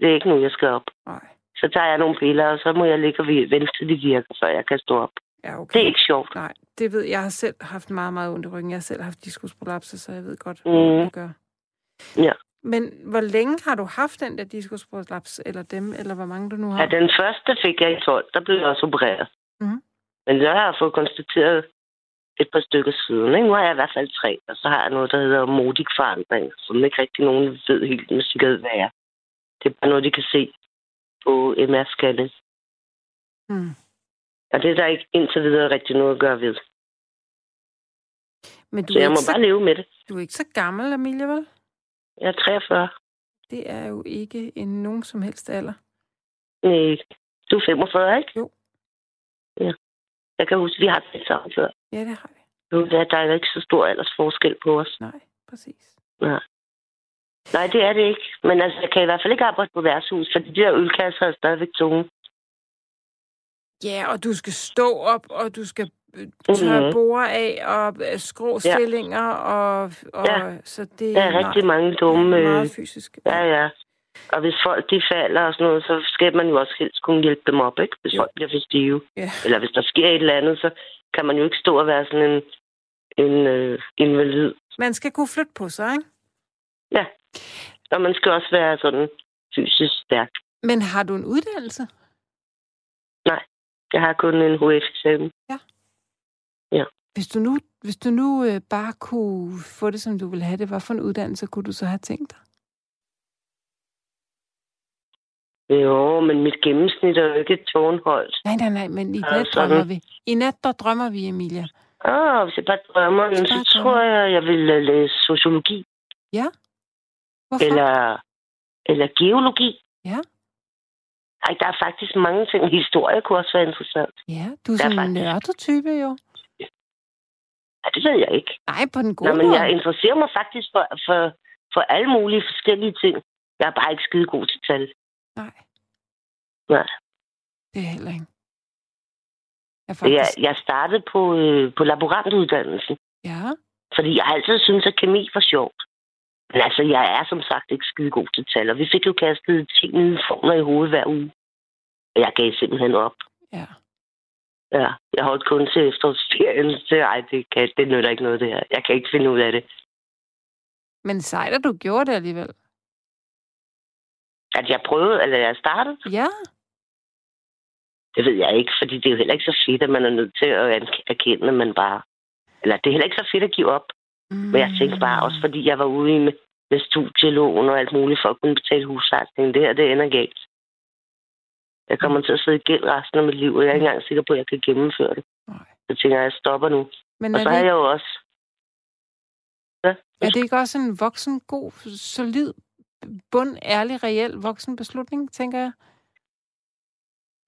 [SPEAKER 6] det er ikke nu, jeg skal op.
[SPEAKER 3] nej.
[SPEAKER 6] Så tager jeg nogle piller, og så må jeg ligge og vente til de virker, før jeg kan stå op.
[SPEAKER 3] Ja, okay.
[SPEAKER 6] Det er ikke sjovt.
[SPEAKER 3] Nej, det ved jeg. Jeg har selv haft meget, meget ondt i ryggen. Jeg har selv haft diskusprolapser, så jeg ved godt,
[SPEAKER 6] Mm.
[SPEAKER 3] hvad det gør.
[SPEAKER 6] Ja.
[SPEAKER 3] Men hvor længe har du haft den der diskusprolaps, eller dem, eller hvor mange du nu har?
[SPEAKER 6] Ja, den første fik jeg i 12, der blev jeg også opereret.
[SPEAKER 3] Mhm.
[SPEAKER 6] Men der har jeg fået konstateret et par stykker siden. Ikke? Nu har jeg i hvert fald tre, og så har jeg noget, der hedder modig forandring, som ikke rigtig nogen ved helt med sikkerhed, hvad er. Det er bare noget, de kan se på MR-skallen.
[SPEAKER 3] Mm.
[SPEAKER 6] Og det er der ikke indtil videre rigtig noget at gøre ved.
[SPEAKER 3] Men du
[SPEAKER 6] Så
[SPEAKER 3] er,
[SPEAKER 6] jeg må
[SPEAKER 3] ikke så,
[SPEAKER 6] bare leve med det.
[SPEAKER 3] du er ikke så gammel, Amelia, vel?
[SPEAKER 6] Jeg er 43.
[SPEAKER 3] Det er jo ikke en nogen som helst alder.
[SPEAKER 6] Nej, du er 45, ikke?
[SPEAKER 3] Jo.
[SPEAKER 6] Ja. Jeg kan huske, vi har talt sammen før.
[SPEAKER 3] Ja, det har vi.
[SPEAKER 6] Nu er der jo ikke så stor aldersforskel på os.
[SPEAKER 3] Nej, præcis.
[SPEAKER 6] Nej, det er det ikke. Men altså, jeg kan i hvert fald ikke arbejde på værtshus, for de der ølkasser er stadigvæk tunge.
[SPEAKER 3] Ja, og du skal stå op, og du skal øh, tørre
[SPEAKER 6] Mhm.
[SPEAKER 3] borer af, og øh, skrå stillinger, og, og
[SPEAKER 6] Ja.
[SPEAKER 3] så det
[SPEAKER 6] Der er rigtig mange dumme...
[SPEAKER 3] meget,
[SPEAKER 6] Øh,
[SPEAKER 3] meget fysisk.
[SPEAKER 6] ja, ja. Og hvis folk de falder og sådan noget, så skal man jo også helst kunne hjælpe dem op, ikke? Hvis
[SPEAKER 3] Jo.
[SPEAKER 6] folk bliver for stive.
[SPEAKER 3] Ja.
[SPEAKER 6] Eller hvis der sker et eller andet, så kan man jo ikke stå og være sådan en, en øh, invalid.
[SPEAKER 3] Man skal kunne flytte på sig, ikke?
[SPEAKER 6] Og man skal også være sådan fysisk stærk.
[SPEAKER 3] Men har du en uddannelse?
[SPEAKER 6] Jeg har kun en HF-eksamen.
[SPEAKER 3] Hvis du nu, hvis du nu øh, bare kunne få det, som du ville have det, hvad for en uddannelse kunne du så have tænkt dig?
[SPEAKER 6] Jo, men mit gennemsnit er jo ikke tårnhøjt.
[SPEAKER 3] Nej, nej, nej, men i
[SPEAKER 6] Ja,
[SPEAKER 3] nat
[SPEAKER 6] sådan.
[SPEAKER 3] drømmer vi. I nat, der drømmer vi, Emilia.
[SPEAKER 6] Åh, hvis jeg bare drømmer,
[SPEAKER 3] Hvis
[SPEAKER 6] så
[SPEAKER 3] bare
[SPEAKER 6] tror jeg, jeg vil øh, læse sociologi.
[SPEAKER 3] Hvorfor?
[SPEAKER 6] eller, eller geologi.
[SPEAKER 3] Ja.
[SPEAKER 6] Ej, der er faktisk mange ting. Historie kunne også være interessant.
[SPEAKER 3] Ja, du er
[SPEAKER 6] Ja,
[SPEAKER 3] sådan en
[SPEAKER 6] faktisk.
[SPEAKER 3] nørdetype jo.
[SPEAKER 6] Ej, det ved jeg ikke.
[SPEAKER 3] Nej, på den gode
[SPEAKER 6] Nå, men
[SPEAKER 3] måde.
[SPEAKER 6] jeg interesserer mig faktisk for, for, for alle mulige forskellige ting. Jeg er bare ikke skide god til tal.
[SPEAKER 3] Nej.
[SPEAKER 6] Nej.
[SPEAKER 3] Det er heller ikke. Jeg er
[SPEAKER 6] Jeg,
[SPEAKER 3] faktisk...
[SPEAKER 6] jeg startede på, øh, på laborantuddannelsen,
[SPEAKER 3] Ja.
[SPEAKER 6] fordi jeg har altid syntes, at kemi var sjovt. Men altså, jeg er som sagt ikke skide god til tal, og vi fik jo kastet 10 nye formler i hovedet hver uge. Og jeg gav simpelthen op.
[SPEAKER 3] Ja.
[SPEAKER 6] Ja, jeg holdt kun til efterårsferien, så ej, det, kan, det nytter ikke noget, det her. Jeg kan ikke finde ud af det.
[SPEAKER 3] Men sejt, at du gjorde det alligevel.
[SPEAKER 6] At jeg prøvede, eller jeg startede,
[SPEAKER 3] Ja.
[SPEAKER 6] det ved jeg ikke, fordi det er jo heller ikke så fedt, at man er nødt til at an- erkende, at man bare... Eller det er heller ikke så fedt at give op. Men jeg tænkte bare også, fordi jeg var ude i med, med studielån og alt muligt for at kunne betale husrejsning. Det her, det ender galt. Jeg kommer til at sidde i gæld resten af mit liv, og jeg er ikke engang sikker på, at jeg kan gennemføre det.
[SPEAKER 3] Nej.
[SPEAKER 6] Så tænker jeg, at jeg stopper nu.
[SPEAKER 3] Men
[SPEAKER 6] Og
[SPEAKER 3] er
[SPEAKER 6] så har
[SPEAKER 3] det,
[SPEAKER 6] jeg jo også...
[SPEAKER 3] er det ikke også en voksen, god, solid, bund, ærlig, reel voksen beslutning, tænker jeg?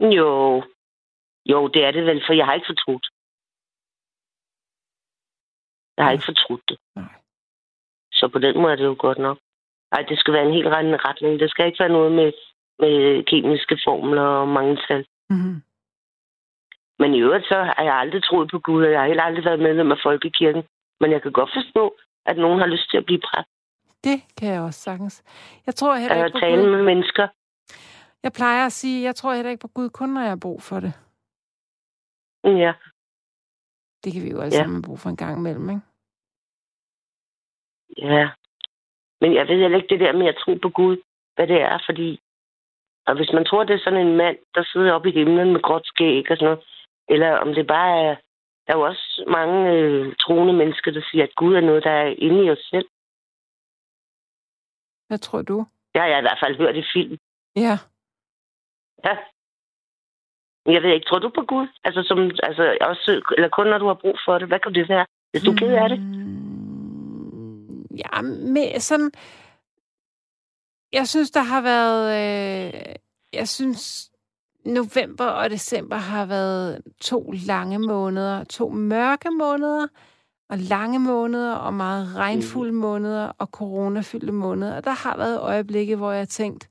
[SPEAKER 6] Jo. Jo, det er det vel, for jeg har ikke fortrudt. Jeg har ikke fortrudt det.
[SPEAKER 3] Nej.
[SPEAKER 6] Så på den måde er det jo godt nok. Ej, det skal være en helt ren retning. Det skal ikke være noget med, med kemiske formler og mange tal.
[SPEAKER 3] Mm-hmm.
[SPEAKER 6] Men i øvrigt så har jeg aldrig troet på Gud, og jeg har heller aldrig været medlem af Folkekirken. Men jeg kan godt forstå, at nogen har lyst til at blive præst
[SPEAKER 3] Det kan jeg også sagtens. Jeg tror heller
[SPEAKER 6] og
[SPEAKER 3] ikke på
[SPEAKER 6] tale
[SPEAKER 3] Gud.
[SPEAKER 6] med mennesker.
[SPEAKER 3] Jeg plejer at sige, jeg tror heller ikke på Gud, kun når jeg har brug for det.
[SPEAKER 6] Ja,
[SPEAKER 3] Det kan vi jo alle
[SPEAKER 6] Ja.
[SPEAKER 3] sammen have brug for en gang imellem, ikke?
[SPEAKER 6] ja. Men jeg ved heller ikke det der med at tro på Gud, hvad det er, fordi... Og hvis man tror, det er sådan en mand, der sidder oppe i himlen med gråt skæg og sådan noget, eller om det bare er... Der er jo også mange øh, troende mennesker, der siger, at Gud er noget, der er inde i os selv.
[SPEAKER 3] Hvad tror du?
[SPEAKER 6] Det har jeg i hvert fald hørt i film.
[SPEAKER 3] Ja.
[SPEAKER 6] Ja. Jeg ved ikke, tror du på Gud? Altså, som, altså også, eller kun når du har brug for det. Hvad kan det være? Hvis du er ked af det?
[SPEAKER 3] Mm, Ja, med sådan... Jeg synes, der har været... Øh, jeg synes, november og december har været to lange måneder. To mørke måneder, og lange måneder, og meget
[SPEAKER 6] Mm.
[SPEAKER 3] regnfulde måneder, og coronafyldte måneder. Og der har været øjeblikke, hvor jeg har tænkt,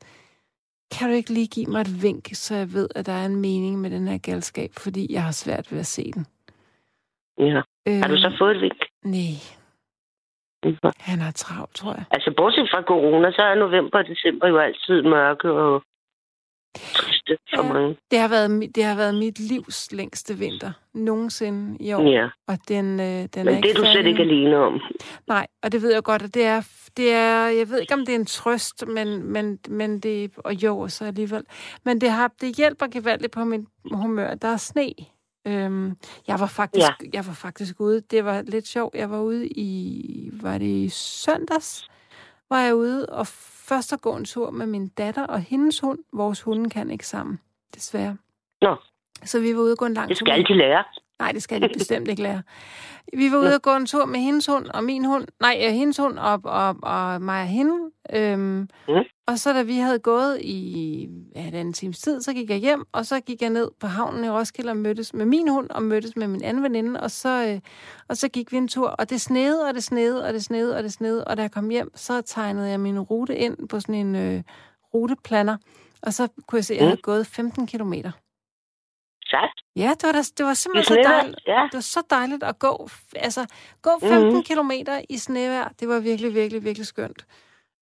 [SPEAKER 3] kan du ikke lige give mig et vink, så jeg ved, at der er en mening med den her galskab, fordi jeg har svært ved at se den.
[SPEAKER 6] Ja. Har du så fået et vink?
[SPEAKER 3] Nej,
[SPEAKER 6] Ja.
[SPEAKER 3] han har travlt, tror jeg.
[SPEAKER 6] Altså, bortset fra corona, så er november og december jo altid mørke og triste for
[SPEAKER 3] Ja.
[SPEAKER 6] mange.
[SPEAKER 3] Det har været, mi- det har været mit livs længste vinter nogensinde i år,
[SPEAKER 6] Ja.
[SPEAKER 3] og den, øh, den er
[SPEAKER 6] Men det er
[SPEAKER 3] ikke
[SPEAKER 6] du slet
[SPEAKER 3] færdig
[SPEAKER 6] ikke
[SPEAKER 3] endnu.
[SPEAKER 6] alene om.
[SPEAKER 3] Nej, og det ved jeg godt, og det er, det er, jeg ved ikke, om det er en trøst, men, men, men det, og jo, og så alligevel. Men det, har, det hjælper gevaldigt på mit humør. Der er sne. Øhm, jeg, var faktisk, ja. jeg var faktisk ude, det var lidt sjovt, jeg var ude i, var det i søndags, var jeg ude og først at gå en tur med min datter og hendes hund. Vores hunde kan ikke sammen, desværre.
[SPEAKER 6] Nå.
[SPEAKER 3] Så vi var ude og gå en lang
[SPEAKER 6] Det
[SPEAKER 3] tur.
[SPEAKER 6] skal de lære.
[SPEAKER 3] Nej, det skal de bestemt ikke lære. Vi var ude og gå en tur med hendes hund og min hund. Nej, øh, hendes hund og, og, og mig og hende. Øhm, mm.
[SPEAKER 6] Mm.
[SPEAKER 3] Og så da vi havde gået i halvanden times tid, så gik jeg hjem, og så gik jeg ned på havnen i Roskilde og mødtes med min hund og mødtes med min anden veninde, og så, øh, og så gik vi en tur, og det snede, og det snede, og det snede, og det snede, og da jeg kom hjem, så tegnede jeg min rute ind på sådan en øh, ruteplaner, og så kunne jeg se, at jeg
[SPEAKER 6] Mm.
[SPEAKER 3] havde gået 15 kilometer.
[SPEAKER 6] Sagt.
[SPEAKER 3] Ja, det var, da, det var
[SPEAKER 6] Det
[SPEAKER 3] simpelthen så
[SPEAKER 6] sneller.
[SPEAKER 3] dejligt.
[SPEAKER 6] Ja.
[SPEAKER 3] Det var så dejligt at gå, altså, gå 15 mm-hmm.
[SPEAKER 6] Mhm.
[SPEAKER 3] kilometer i snevejr. Det var virkelig, virkelig, virkelig skønt.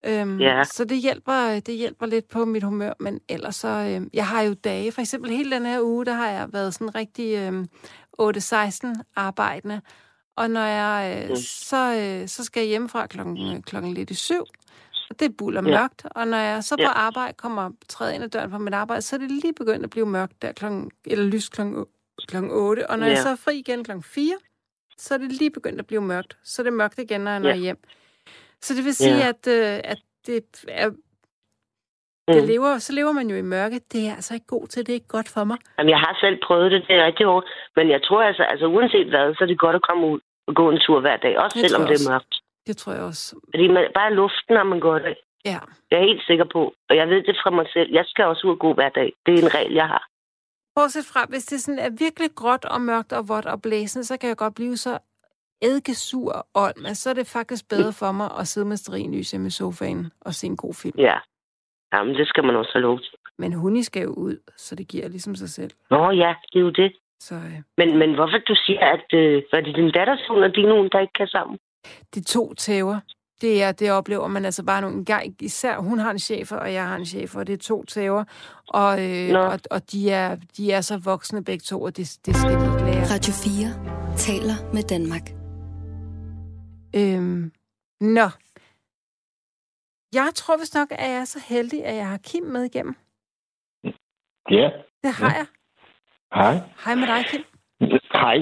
[SPEAKER 3] Øhm,
[SPEAKER 6] Ja.
[SPEAKER 3] Så det hjælper, det hjælper lidt på mit humør, men ellers så... Øhm, jeg har jo dage, for eksempel hele den her uge, der har jeg været sådan rigtig øhm, 8-16 arbejdende. Og når jeg, øh,
[SPEAKER 6] Mm.
[SPEAKER 3] så, øh, så skal jeg hjemmefra klokken, øh, klokken lidt i syv, og det er buller
[SPEAKER 6] Ja.
[SPEAKER 3] mørkt. Og når jeg så på
[SPEAKER 6] Ja.
[SPEAKER 3] arbejde kommer og træder ind ad døren på mit arbejde, så er det lige begyndt at blive mørkt der klokken, eller lys klokken, klokken 8. Og når ja. jeg
[SPEAKER 6] Ja.
[SPEAKER 3] så er fri igen klokken 4, så er det lige begyndt at blive mørkt. Så er det mørkt igen, når jeg når
[SPEAKER 6] Ja.
[SPEAKER 3] hjem. Så det vil sige,
[SPEAKER 6] Ja.
[SPEAKER 3] at, øh, at det er, det
[SPEAKER 6] Mm.
[SPEAKER 3] lever, så lever man jo i mørke. Det er jeg altså ikke god til. Det er ikke godt for mig.
[SPEAKER 6] Jamen, jeg har selv prøvet det, det er rigtig hårdt. Men jeg tror altså, altså uanset hvad, så er det godt at komme ud og gå en tur hver dag. Også
[SPEAKER 3] Jeg
[SPEAKER 6] selvom
[SPEAKER 3] tror
[SPEAKER 6] det er
[SPEAKER 3] også.
[SPEAKER 6] mørkt.
[SPEAKER 3] Det tror jeg også.
[SPEAKER 6] Fordi man, bare luften, når man går det.
[SPEAKER 3] Ja.
[SPEAKER 6] Jeg er helt sikker på. Og jeg ved det fra mig selv. Jeg skal også ud og gå hver dag. Det er en regel, jeg har.
[SPEAKER 3] Bortset fra, hvis det sådan er virkelig gråt og mørkt og vådt og blæsende, så kan jeg godt blive så eddikesur og ånd, men så er det faktisk bedre for mig at sidde med sterinlys hjemme i sofaen og se en god film.
[SPEAKER 6] Ja. Jamen, det skal man også have lov til.
[SPEAKER 3] Men hun skal jo ud, så det giver ligesom sig selv.
[SPEAKER 6] Nå ja, det er jo det.
[SPEAKER 3] Så øh,
[SPEAKER 6] Men, men hvorfor du siger, at øh, var det din datters hund og din hund, der ikke kan sammen?
[SPEAKER 3] de to tæver, det er, det oplever man altså bare nogle gange. Især hun har en chef, og jeg har en chef, og det er to tæver. Og, øh,
[SPEAKER 6] Nå.
[SPEAKER 3] og, og de, er, de er så voksne begge to, og det, det skal de ikke lære.
[SPEAKER 2] Radio 4 taler med Danmark.
[SPEAKER 3] Øhm, nå. Jeg tror vist nok, at jeg er så heldig, at jeg har Kim med igennem.
[SPEAKER 5] Ja,
[SPEAKER 3] Det har jeg.
[SPEAKER 5] hej.
[SPEAKER 3] Hej med dig, Kim.
[SPEAKER 5] Hej.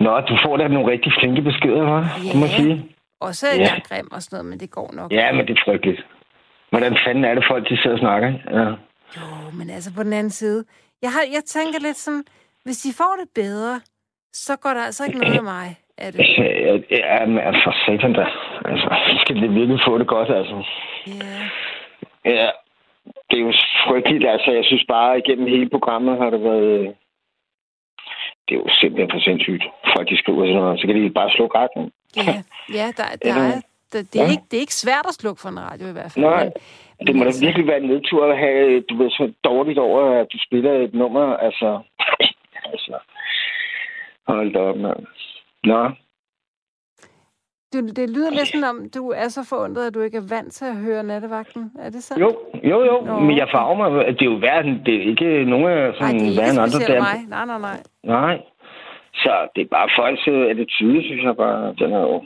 [SPEAKER 5] Nå, du får da nogle rigtig flinke beskeder, hva'? Det må
[SPEAKER 3] Ja.
[SPEAKER 5] jeg sige.
[SPEAKER 3] Og så er
[SPEAKER 5] Ja.
[SPEAKER 3] jeg grim og sådan noget, men det går nok.
[SPEAKER 5] Ja, men det er frygteligt. Hvordan fanden er det, folk de sidder og snakker? ikke? Ja.
[SPEAKER 3] Jo, men altså på den anden side. Jeg, har, jeg tænker lidt sådan, hvis de får det bedre, så går der altså ikke noget af mig af det.
[SPEAKER 5] Ja, ja, men altså, satan da. Altså, så skal det virkelig få det godt, altså.
[SPEAKER 3] Ja.
[SPEAKER 5] Ja, det er jo frygteligt. Altså, jeg synes bare, at igennem hele programmet har det været... øh, Det er jo simpelthen for sindssygt. Folk, de skriver sådan noget. Så kan de bare slukke retten.
[SPEAKER 3] Ja, ja der, der
[SPEAKER 5] Ja.
[SPEAKER 3] er, der, det, er
[SPEAKER 5] Ja.
[SPEAKER 3] ikke, det er ikke svært at slukke for en radio i hvert fald.
[SPEAKER 5] Nej,
[SPEAKER 3] men-
[SPEAKER 5] det må
[SPEAKER 3] men
[SPEAKER 5] da
[SPEAKER 3] altså-
[SPEAKER 5] virkelig være en nedtur at have, øh, du ved, så dårligt over, at du spiller et nummer. Altså, altså. Hold da op, mand. Nå,
[SPEAKER 3] Du, det lyder lidt som om, du er så forundret, at du ikke er vant til at høre nattevagten. Er det sandt?
[SPEAKER 5] jo, jo, jo.
[SPEAKER 3] Nå.
[SPEAKER 5] Men jeg farver mig. Det er jo værre, end- det er ikke nogen af
[SPEAKER 3] Nej,
[SPEAKER 5] sådan
[SPEAKER 3] det er
[SPEAKER 5] værre end
[SPEAKER 3] ikke
[SPEAKER 5] andre.
[SPEAKER 3] specielt
[SPEAKER 5] der-
[SPEAKER 3] mig. Nej, nej, nej.
[SPEAKER 5] Nej. Så det er bare folks øh, attitude, synes jeg bare. Den er jo...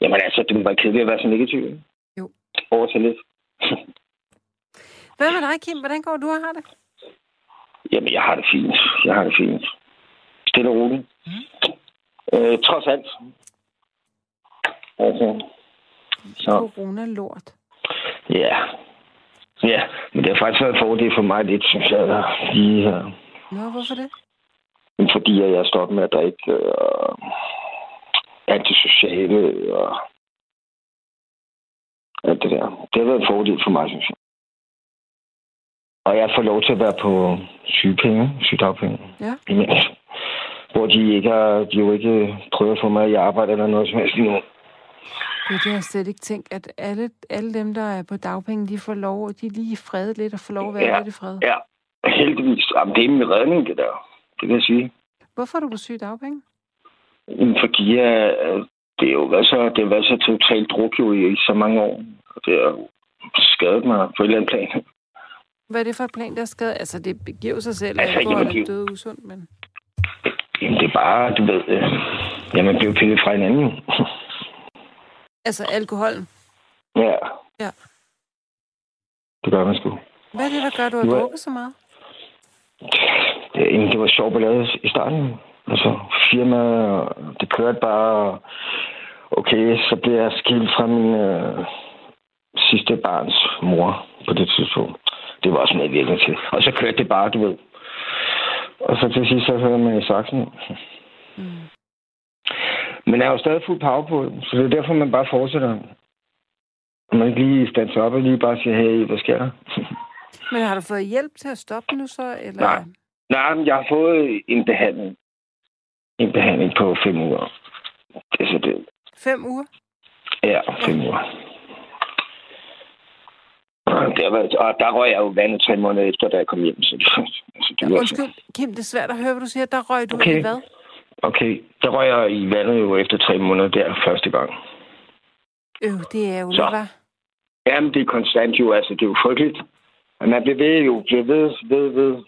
[SPEAKER 5] Jamen altså, det må være kedeligt at være så negativ. ikke?
[SPEAKER 3] Jo.
[SPEAKER 5] Over til lidt.
[SPEAKER 3] Hvad med dig, Kim? Hvordan går du og har det?
[SPEAKER 5] Jamen, jeg har det fint. Jeg har det fint. Stille og roligt. Mm. Øh, trods alt. Altså, så,
[SPEAKER 3] Corona-lort.
[SPEAKER 5] ja. Ja, men det har faktisk været en fordel for mig lidt, synes jeg. der Lige, øh,
[SPEAKER 3] Nå, hvorfor det?
[SPEAKER 5] fordi at jeg er stoppet med at drikke øh, og antisociale og alt det der. Det har været en fordel for mig, synes jeg. Og jeg får lov til at være på sygepenge, sygedagpenge.
[SPEAKER 3] Ja.
[SPEAKER 5] Imens. Hvor de ikke har, de jo ikke prøver at få mig i arbejde eller noget som helst lige nu.
[SPEAKER 3] Det, det har jeg slet ikke tænkt, at alle, alle dem, der er på dagpenge, de får lov, de er lige fredet lidt og får lov at være
[SPEAKER 5] Ja.
[SPEAKER 3] ja. lidt i fred.
[SPEAKER 5] Ja, heldigvis. Jamen, det er min redning, det der. Det kan jeg sige.
[SPEAKER 3] Hvorfor er du på syg dagpenge?
[SPEAKER 5] Jamen, Fordi øh, det er jo været så, det har været så totalt druk jo i, i så mange år. Og det har jo skadet mig på et eller andet plan.
[SPEAKER 3] Hvad er det for et plan, der er skadet? Altså, det giver jo sig selv, at
[SPEAKER 5] Altså,
[SPEAKER 3] alkohol
[SPEAKER 5] jamen, det er
[SPEAKER 3] er
[SPEAKER 5] jo-
[SPEAKER 3] død usundt, men...
[SPEAKER 5] Jamen, det er bare, du ved, øh, ja, man blev pillet fra hinanden.
[SPEAKER 3] Altså, alkoholen.
[SPEAKER 5] ja.
[SPEAKER 3] Ja.
[SPEAKER 5] Det gør man sgu.
[SPEAKER 3] Hvad er det, der gør, du har
[SPEAKER 5] Nu er-
[SPEAKER 3] drukket så meget?
[SPEAKER 5] Det, Øh, jamen, det var sjovt ballade i starten. Altså, firma, og det kørte bare. Okay, så blev jeg skilt fra min øh, sidste barns mor på det tidspunkt. Det var også medvirkende til. Og så kørte det bare, du ved. Og så til sidst, så hører man i saksen.
[SPEAKER 3] Mm.
[SPEAKER 5] Men jeg er jo stadig fuld power på, så det er derfor, man bare fortsætter. Og man ikke lige standser op og lige bare siger, hey, hvad sker der?
[SPEAKER 3] Men har du fået hjælp til at stoppe nu så? Eller?
[SPEAKER 5] Nej. Nej, men jeg har fået en behandling. En behandling på fem uger. Det er så det.
[SPEAKER 3] Fem uger?
[SPEAKER 5] Ja, fem uger. Og Der var, og der røg jeg jo vandet tre måneder efter, da jeg kom hjem. Så, så det var,
[SPEAKER 3] Undskyld, Kim, det er svært at høre, hvad du siger. Der røg du
[SPEAKER 5] Okay.
[SPEAKER 3] i hvad?
[SPEAKER 5] okay, der røg jeg i vandet jo efter tre måneder der første gang.
[SPEAKER 3] Øh, det er jo
[SPEAKER 5] Så.
[SPEAKER 3] hva'?
[SPEAKER 5] Jamen, det er konstant jo, altså, det er jo frygteligt. Men man bliver ved jo, bliver ved, ved, ved.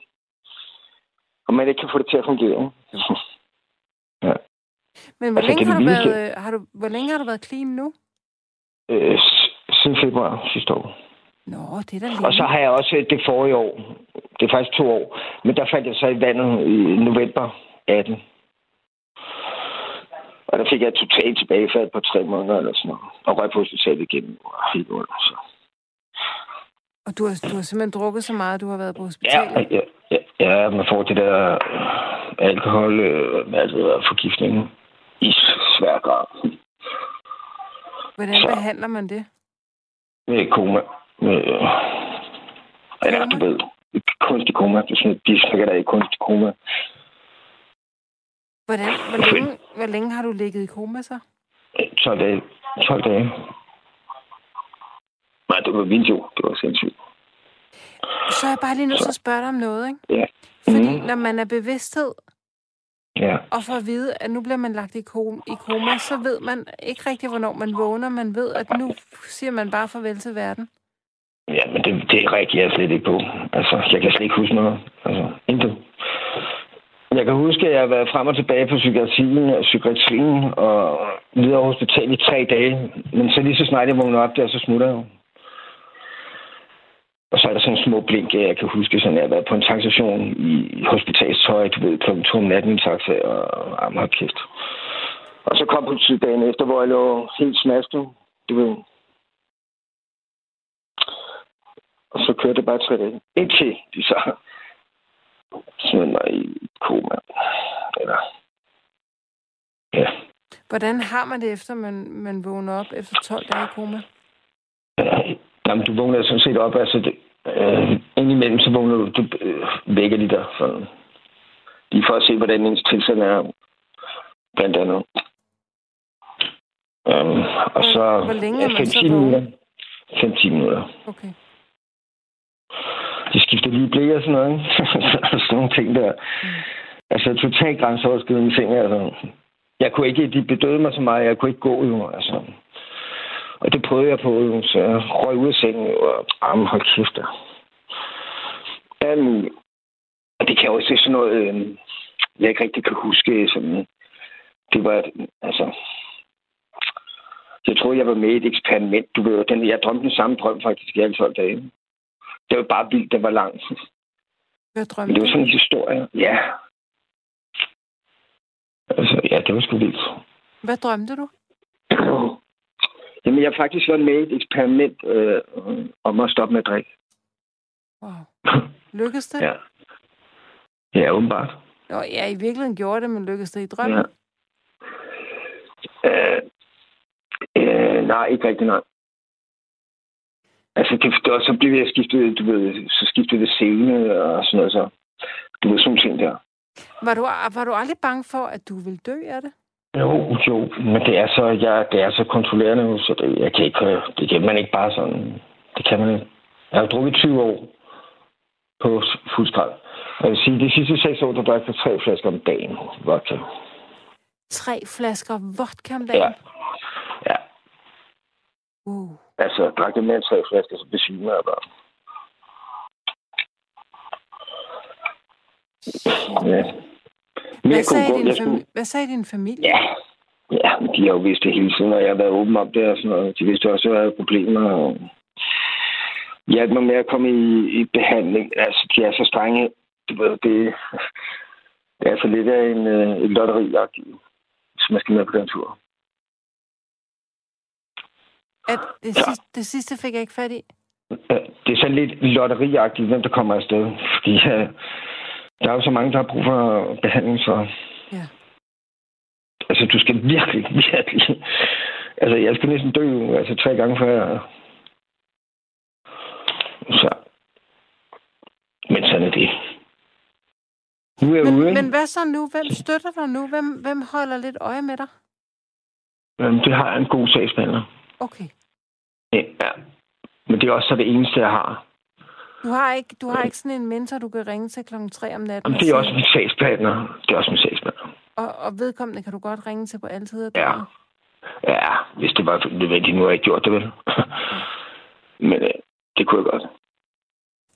[SPEAKER 5] Og man ikke kan få det til at fungere.
[SPEAKER 3] Men hvor
[SPEAKER 5] Altså,
[SPEAKER 3] længe
[SPEAKER 5] det er
[SPEAKER 3] har du
[SPEAKER 5] det vildeste.
[SPEAKER 3] været, øh, har du, hvor længe har du været clean nu?
[SPEAKER 5] Øh, s- siden februar sidste år.
[SPEAKER 3] Nå, det er da
[SPEAKER 5] Og så
[SPEAKER 3] længe.
[SPEAKER 5] har jeg også øh, det forrige år. Det er faktisk to år. Men der faldt jeg så i vandet i november 18. Og der fik jeg totalt tilbagefald på tre måneder eller sådan noget. Og røg på hospitalet igen. Og helt under, så.
[SPEAKER 3] Og du har, du har simpelthen drukket så meget, at du har været på
[SPEAKER 5] Ja,
[SPEAKER 3] hospitalet.
[SPEAKER 5] ja, ja, ja, man får det der øh, alkohol, øh, hvad det hedder, forgiftning i svær grad.
[SPEAKER 3] Hvordan
[SPEAKER 5] så.
[SPEAKER 3] behandler man det?
[SPEAKER 5] Med koma. Med, øh, eller, du ved, kunstig koma. Det er sådan, de snakker der i kunstig koma.
[SPEAKER 3] Hvordan, hvor, længe, hvor længe har du ligget i koma så?
[SPEAKER 5] 12 dage. 12 dage. Nej, det var vildt jo. Det var sindssygt.
[SPEAKER 3] Så er jeg bare lige nødt til at spørge dig om noget, ikke?
[SPEAKER 5] Ja.
[SPEAKER 3] Fordi
[SPEAKER 5] Mhm.
[SPEAKER 3] når man er bevidsthed
[SPEAKER 5] Ja,
[SPEAKER 3] og får at vide, at nu bliver man lagt i ko- i koma, så ved man ikke rigtig, hvornår man vågner. Man ved, at nu siger man bare farvel til verden.
[SPEAKER 5] ja men det, det reagerer jeg slet ikke på. Altså, jeg kan slet ikke huske noget. Altså, intet. Jeg kan huske, at jeg har været frem og tilbage på psykiatrien, og psykiatrien og videre hospital i tre dage. Men så lige så snart jeg vågner op der, så smutter jeg jo. Og så er der sådan en små blink, jeg kan huske, sådan, at jeg har været på en tankstation i hospitalstøj, du ved, kl. 2 om natten i en taxa, og jamen, hold kæft. Og så kom politiet dagen efter, hvor jeg lå helt smasket, du ved. Og så kørte det bare tre dage. Indtil de så smed mig i koma. Eller... Ja.
[SPEAKER 3] Hvordan har man det, efter man, man vågner op efter 12 dage i koma?
[SPEAKER 5] Øh, Jamen, du vågner sådan set op, altså... Det, øh, indimellem, så vågner du, du øh, vækker de dig sådan. Lige for at se, hvordan ens tilstand er, blandt andet. Øhm, og
[SPEAKER 3] Hvor-
[SPEAKER 5] så...
[SPEAKER 3] hvor længe er man så
[SPEAKER 5] 5-10
[SPEAKER 3] vågen?
[SPEAKER 5] minutter. 5-10 minutter.
[SPEAKER 3] Okay.
[SPEAKER 5] de skifter lige blæ og sådan noget, ikke? sådan nogle ting der. Altså, totalt grænseoverskridende ting, altså. Jeg kunne ikke, de bedøvede mig så meget, jeg kunne ikke gå jo, altså. Og det prøvede jeg på, jo, så jeg røg ud af sengen, jo, og armen hold kæft, der. Alt muligt. Og det kan jeg også se sådan noget, øh, jeg ikke rigtig kan huske, sådan, det var, altså, Jeg troede, jeg var med i et eksperiment. Du ved, jo, den, jeg drømte den samme drøm faktisk i alle 12 dage. Det var bare vildt, det var langt.
[SPEAKER 3] Hvad
[SPEAKER 5] Men det
[SPEAKER 3] drømte
[SPEAKER 5] var
[SPEAKER 3] du?
[SPEAKER 5] sådan en historie. Ja. Altså, ja, det var sgu vildt.
[SPEAKER 3] Hvad drømte du?
[SPEAKER 5] Jamen, jeg har faktisk været med i et eksperiment øh, om at stoppe med at drikke.
[SPEAKER 3] Wow. Lykkedes det?
[SPEAKER 5] Ja. Ja, åbenbart.
[SPEAKER 3] Nå, ja, i virkeligheden gjorde det, men lykkedes det i
[SPEAKER 5] Ja.
[SPEAKER 3] drømmen?
[SPEAKER 5] Øh, øh, nej, ikke rigtig nej. Altså, det, det, og så blev jeg skiftet, du ved, så skiftede det scene og sådan noget, så du ved, sådan nogle ting der.
[SPEAKER 3] Var du, var du aldrig bange for, at du ville dø af det?
[SPEAKER 5] Jo, jo, men det er så, jeg, det er så kontrollerende nu, så det, jeg kan ikke, øh, det kan man ikke bare sådan, det kan man ikke. Jeg har jo drukket 20 år på s- fuld skrald. Og Jeg vil sige, de sidste 6 år, der drak jeg tre flasker om dagen vodka.
[SPEAKER 3] Tre flasker vodka om
[SPEAKER 5] Ja.
[SPEAKER 3] dagen?
[SPEAKER 5] ja.
[SPEAKER 3] Uh.
[SPEAKER 5] Altså, jeg drak jeg mere end tre flasker, så besvimer jeg bare. Ja. Men
[SPEAKER 3] Hvad,
[SPEAKER 5] jeg kunne
[SPEAKER 3] sagde
[SPEAKER 5] godt,
[SPEAKER 3] din
[SPEAKER 5] jeg skulle...
[SPEAKER 3] fami- Hvad sagde din familie?
[SPEAKER 5] Ja. Ja, men de har jo vidst det hele tiden, og jeg har været åben om det og sådan noget. De vidste også, at jeg havde problemer. Og... Hjalp mig med at komme i, i behandling. Altså, de er så strenge. Du ved, det, det er for lidt af en, øh, en lotteri, hvis man skal med på den tur.
[SPEAKER 3] At det, sidste, det sidste fik jeg ikke fat i.
[SPEAKER 5] Ja, Det er sådan lidt lotteriagtigt, hvem der kommer afsted. Fordi øh, der er jo så mange, der har brug for behandling, så...
[SPEAKER 3] Ja.
[SPEAKER 5] Altså, du skal virkelig, virkelig... Altså, jeg skal næsten dø altså, tre gange før jeg... Så... Men sådan er det. Nu er jeg ude,
[SPEAKER 3] Men,
[SPEAKER 5] ikke?
[SPEAKER 3] men hvad så nu? Hvem støtter dig nu? Hvem, hvem holder lidt øje med dig?
[SPEAKER 5] Jamen, det har jeg en god sagsbehandler.
[SPEAKER 3] Okay.
[SPEAKER 5] Ja, ja. Men det er også så det eneste, jeg har.
[SPEAKER 3] Du har ikke, du har ikke sådan en mentor, du kan ringe til klokken 3 om natten.
[SPEAKER 5] Jamen,
[SPEAKER 3] og
[SPEAKER 5] det er
[SPEAKER 3] sige-
[SPEAKER 5] også min sagsbehandler. Det er også min sagsbehandler.
[SPEAKER 3] Og, og vedkommende kan du godt ringe til på alle tider.
[SPEAKER 5] Ja. Ja, hvis det var nødvendigt. Nu har jeg ikke gjort det, vel? Men øh, det kunne jeg godt.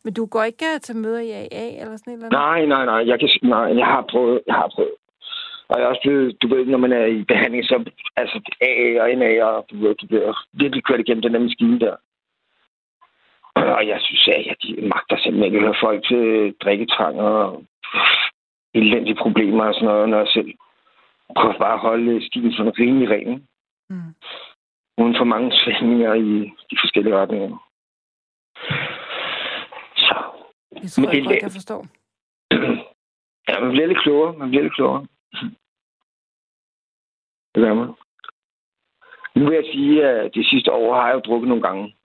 [SPEAKER 3] Men du går ikke øh, til møder i AA eller sådan et eller andet?
[SPEAKER 5] Nej, nej, nej. Jeg, kan, s- nej, jeg har prøvet. Jeg har prøvet. Og jeg er også blevet, du ved, når man er i behandling, så altså AA og NA, og du ved, du bliver virkelig kørt igennem den der maskine der. Og jeg synes, at jeg de magter simpelthen ikke at høre folk til drikketrang og elendige problemer og sådan noget, når jeg selv prøver bare at holde øh, stilen sådan rimelig ren. ikke?
[SPEAKER 3] Mm.
[SPEAKER 5] uden for mange svingninger i de forskellige retninger. Så
[SPEAKER 3] Jeg tror
[SPEAKER 5] Men det
[SPEAKER 3] jeg
[SPEAKER 5] er
[SPEAKER 3] godt,
[SPEAKER 5] lavt.
[SPEAKER 3] jeg forstår.
[SPEAKER 5] ja, man bliver lidt klogere. Man bliver lidt klogere. Det gør man. Nu vil jeg sige, at de sidste år har jeg jo drukket nogle gange.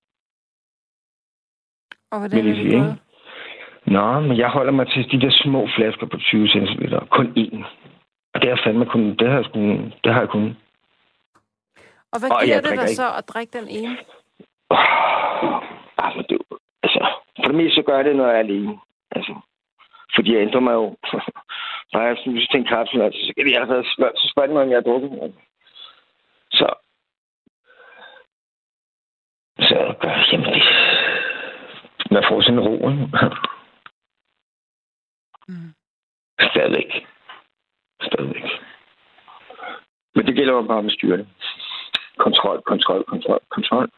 [SPEAKER 3] Og hvordan
[SPEAKER 5] Men
[SPEAKER 3] er
[SPEAKER 5] det
[SPEAKER 3] det
[SPEAKER 5] er
[SPEAKER 3] gået?
[SPEAKER 5] Nå, men jeg holder mig til de der små flasker på 20 cm. Kun én. Og det har jeg fandme kun... Det har jeg, sgu, det har jeg kun...
[SPEAKER 3] Og hvad
[SPEAKER 5] Åh, jeg
[SPEAKER 3] giver det
[SPEAKER 5] drikker
[SPEAKER 3] dig
[SPEAKER 5] ikke.
[SPEAKER 3] så at drikke den ene?
[SPEAKER 5] Åh, Bare for det. Altså, for det meste så gør jeg det, når jeg er alene. Altså, fordi jeg ændrer mig jo. når jeg sådan, hvis jeg tænker kapsel, altså, så kan de allerede spørge, så spørger de mig, om jeg har drukket. Altså. Så. Så gør jeg, jamen det. Man får sådan en ro, ikke?
[SPEAKER 3] Mm.
[SPEAKER 5] Stadigvæk. Stadigvæk. Men det gælder jo bare med styrke. Kontrol, kontrol, kontrol, kontrol.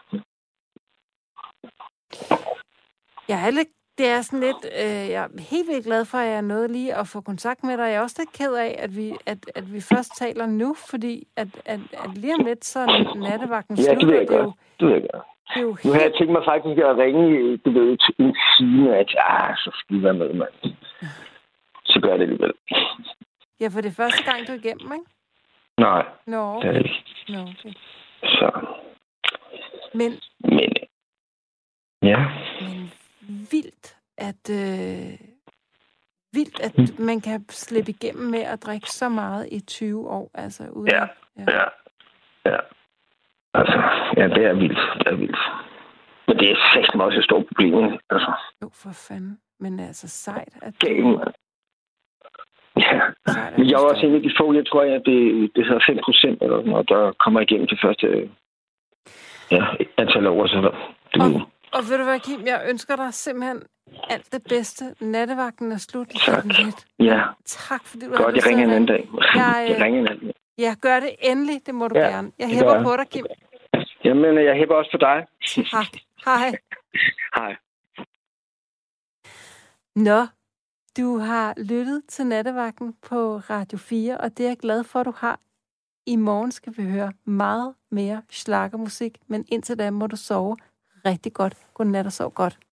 [SPEAKER 3] Jeg er lidt, det er sådan lidt, øh, jeg er helt vildt glad for, at jeg nåede lige at få kontakt med dig. Jeg er også lidt ked af, at vi, at, at vi først taler nu, fordi at, at, at lige om lidt, så er nattevagten
[SPEAKER 5] Ja, det
[SPEAKER 3] slutter.
[SPEAKER 5] ved jeg
[SPEAKER 3] det er jo,
[SPEAKER 5] godt. Det ved jeg godt.
[SPEAKER 3] det er jo
[SPEAKER 5] Nu har jeg
[SPEAKER 3] helt,
[SPEAKER 5] tænkt mig faktisk at ringe, du ved, til en time, at ah, så skal I være med, mand. Så gør jeg det alligevel.
[SPEAKER 3] ja, for det er første gang, du er igennem, ikke?
[SPEAKER 5] Nej,
[SPEAKER 3] Nå,
[SPEAKER 5] det er
[SPEAKER 3] okay.
[SPEAKER 5] det ikke.
[SPEAKER 3] Nå, okay.
[SPEAKER 5] Så,
[SPEAKER 3] Men,
[SPEAKER 5] men, ja.
[SPEAKER 3] men vildt, at, øh, vildt,
[SPEAKER 5] Mm.
[SPEAKER 3] at man kan slippe igennem med at drikke så meget i 20 år. Altså, uden,
[SPEAKER 5] Ja.
[SPEAKER 3] ja.
[SPEAKER 5] Ja. Ja. Altså, ja, det er vildt. Det er vildt. Men det er faktisk også et stort problem, ikke? altså.
[SPEAKER 3] Jo, for fanden. Men altså sejt, at
[SPEAKER 5] Galen, mand. Ja.
[SPEAKER 3] sejt, at
[SPEAKER 5] Men
[SPEAKER 3] du
[SPEAKER 5] jeg er også
[SPEAKER 3] står-
[SPEAKER 5] en af de få, jeg tror, at det, det hedder 5 procent, eller sådan noget, der kommer igennem det første øh, ja, antal år, så du
[SPEAKER 3] Og-
[SPEAKER 5] ved.
[SPEAKER 3] Og ved du hvad, Kim, jeg ønsker dig simpelthen alt det bedste. Nattevagten er slut lige
[SPEAKER 5] Tak.
[SPEAKER 3] om lidt.
[SPEAKER 5] Ja,
[SPEAKER 3] Tak, fordi du
[SPEAKER 5] godt, jeg ringer en anden dag.
[SPEAKER 3] Jeg, øh,
[SPEAKER 5] Jeg ringer en anden dag.
[SPEAKER 3] Ja, gør det endelig. Det må du
[SPEAKER 5] Ja,
[SPEAKER 3] gerne. Jeg
[SPEAKER 5] det gør
[SPEAKER 3] hæpper
[SPEAKER 5] jeg.
[SPEAKER 3] på dig, Kim.
[SPEAKER 5] Ja, Jamen, øh, jeg hæpper også på dig.
[SPEAKER 3] Ha, hej.
[SPEAKER 5] Hej.
[SPEAKER 3] Nå, du har lyttet til nattevagten på Radio 4, og det er jeg glad for, at du har. I morgen skal vi høre meget mere slagermusik, men indtil da må du sove rigtig godt. Godnat og sov godt.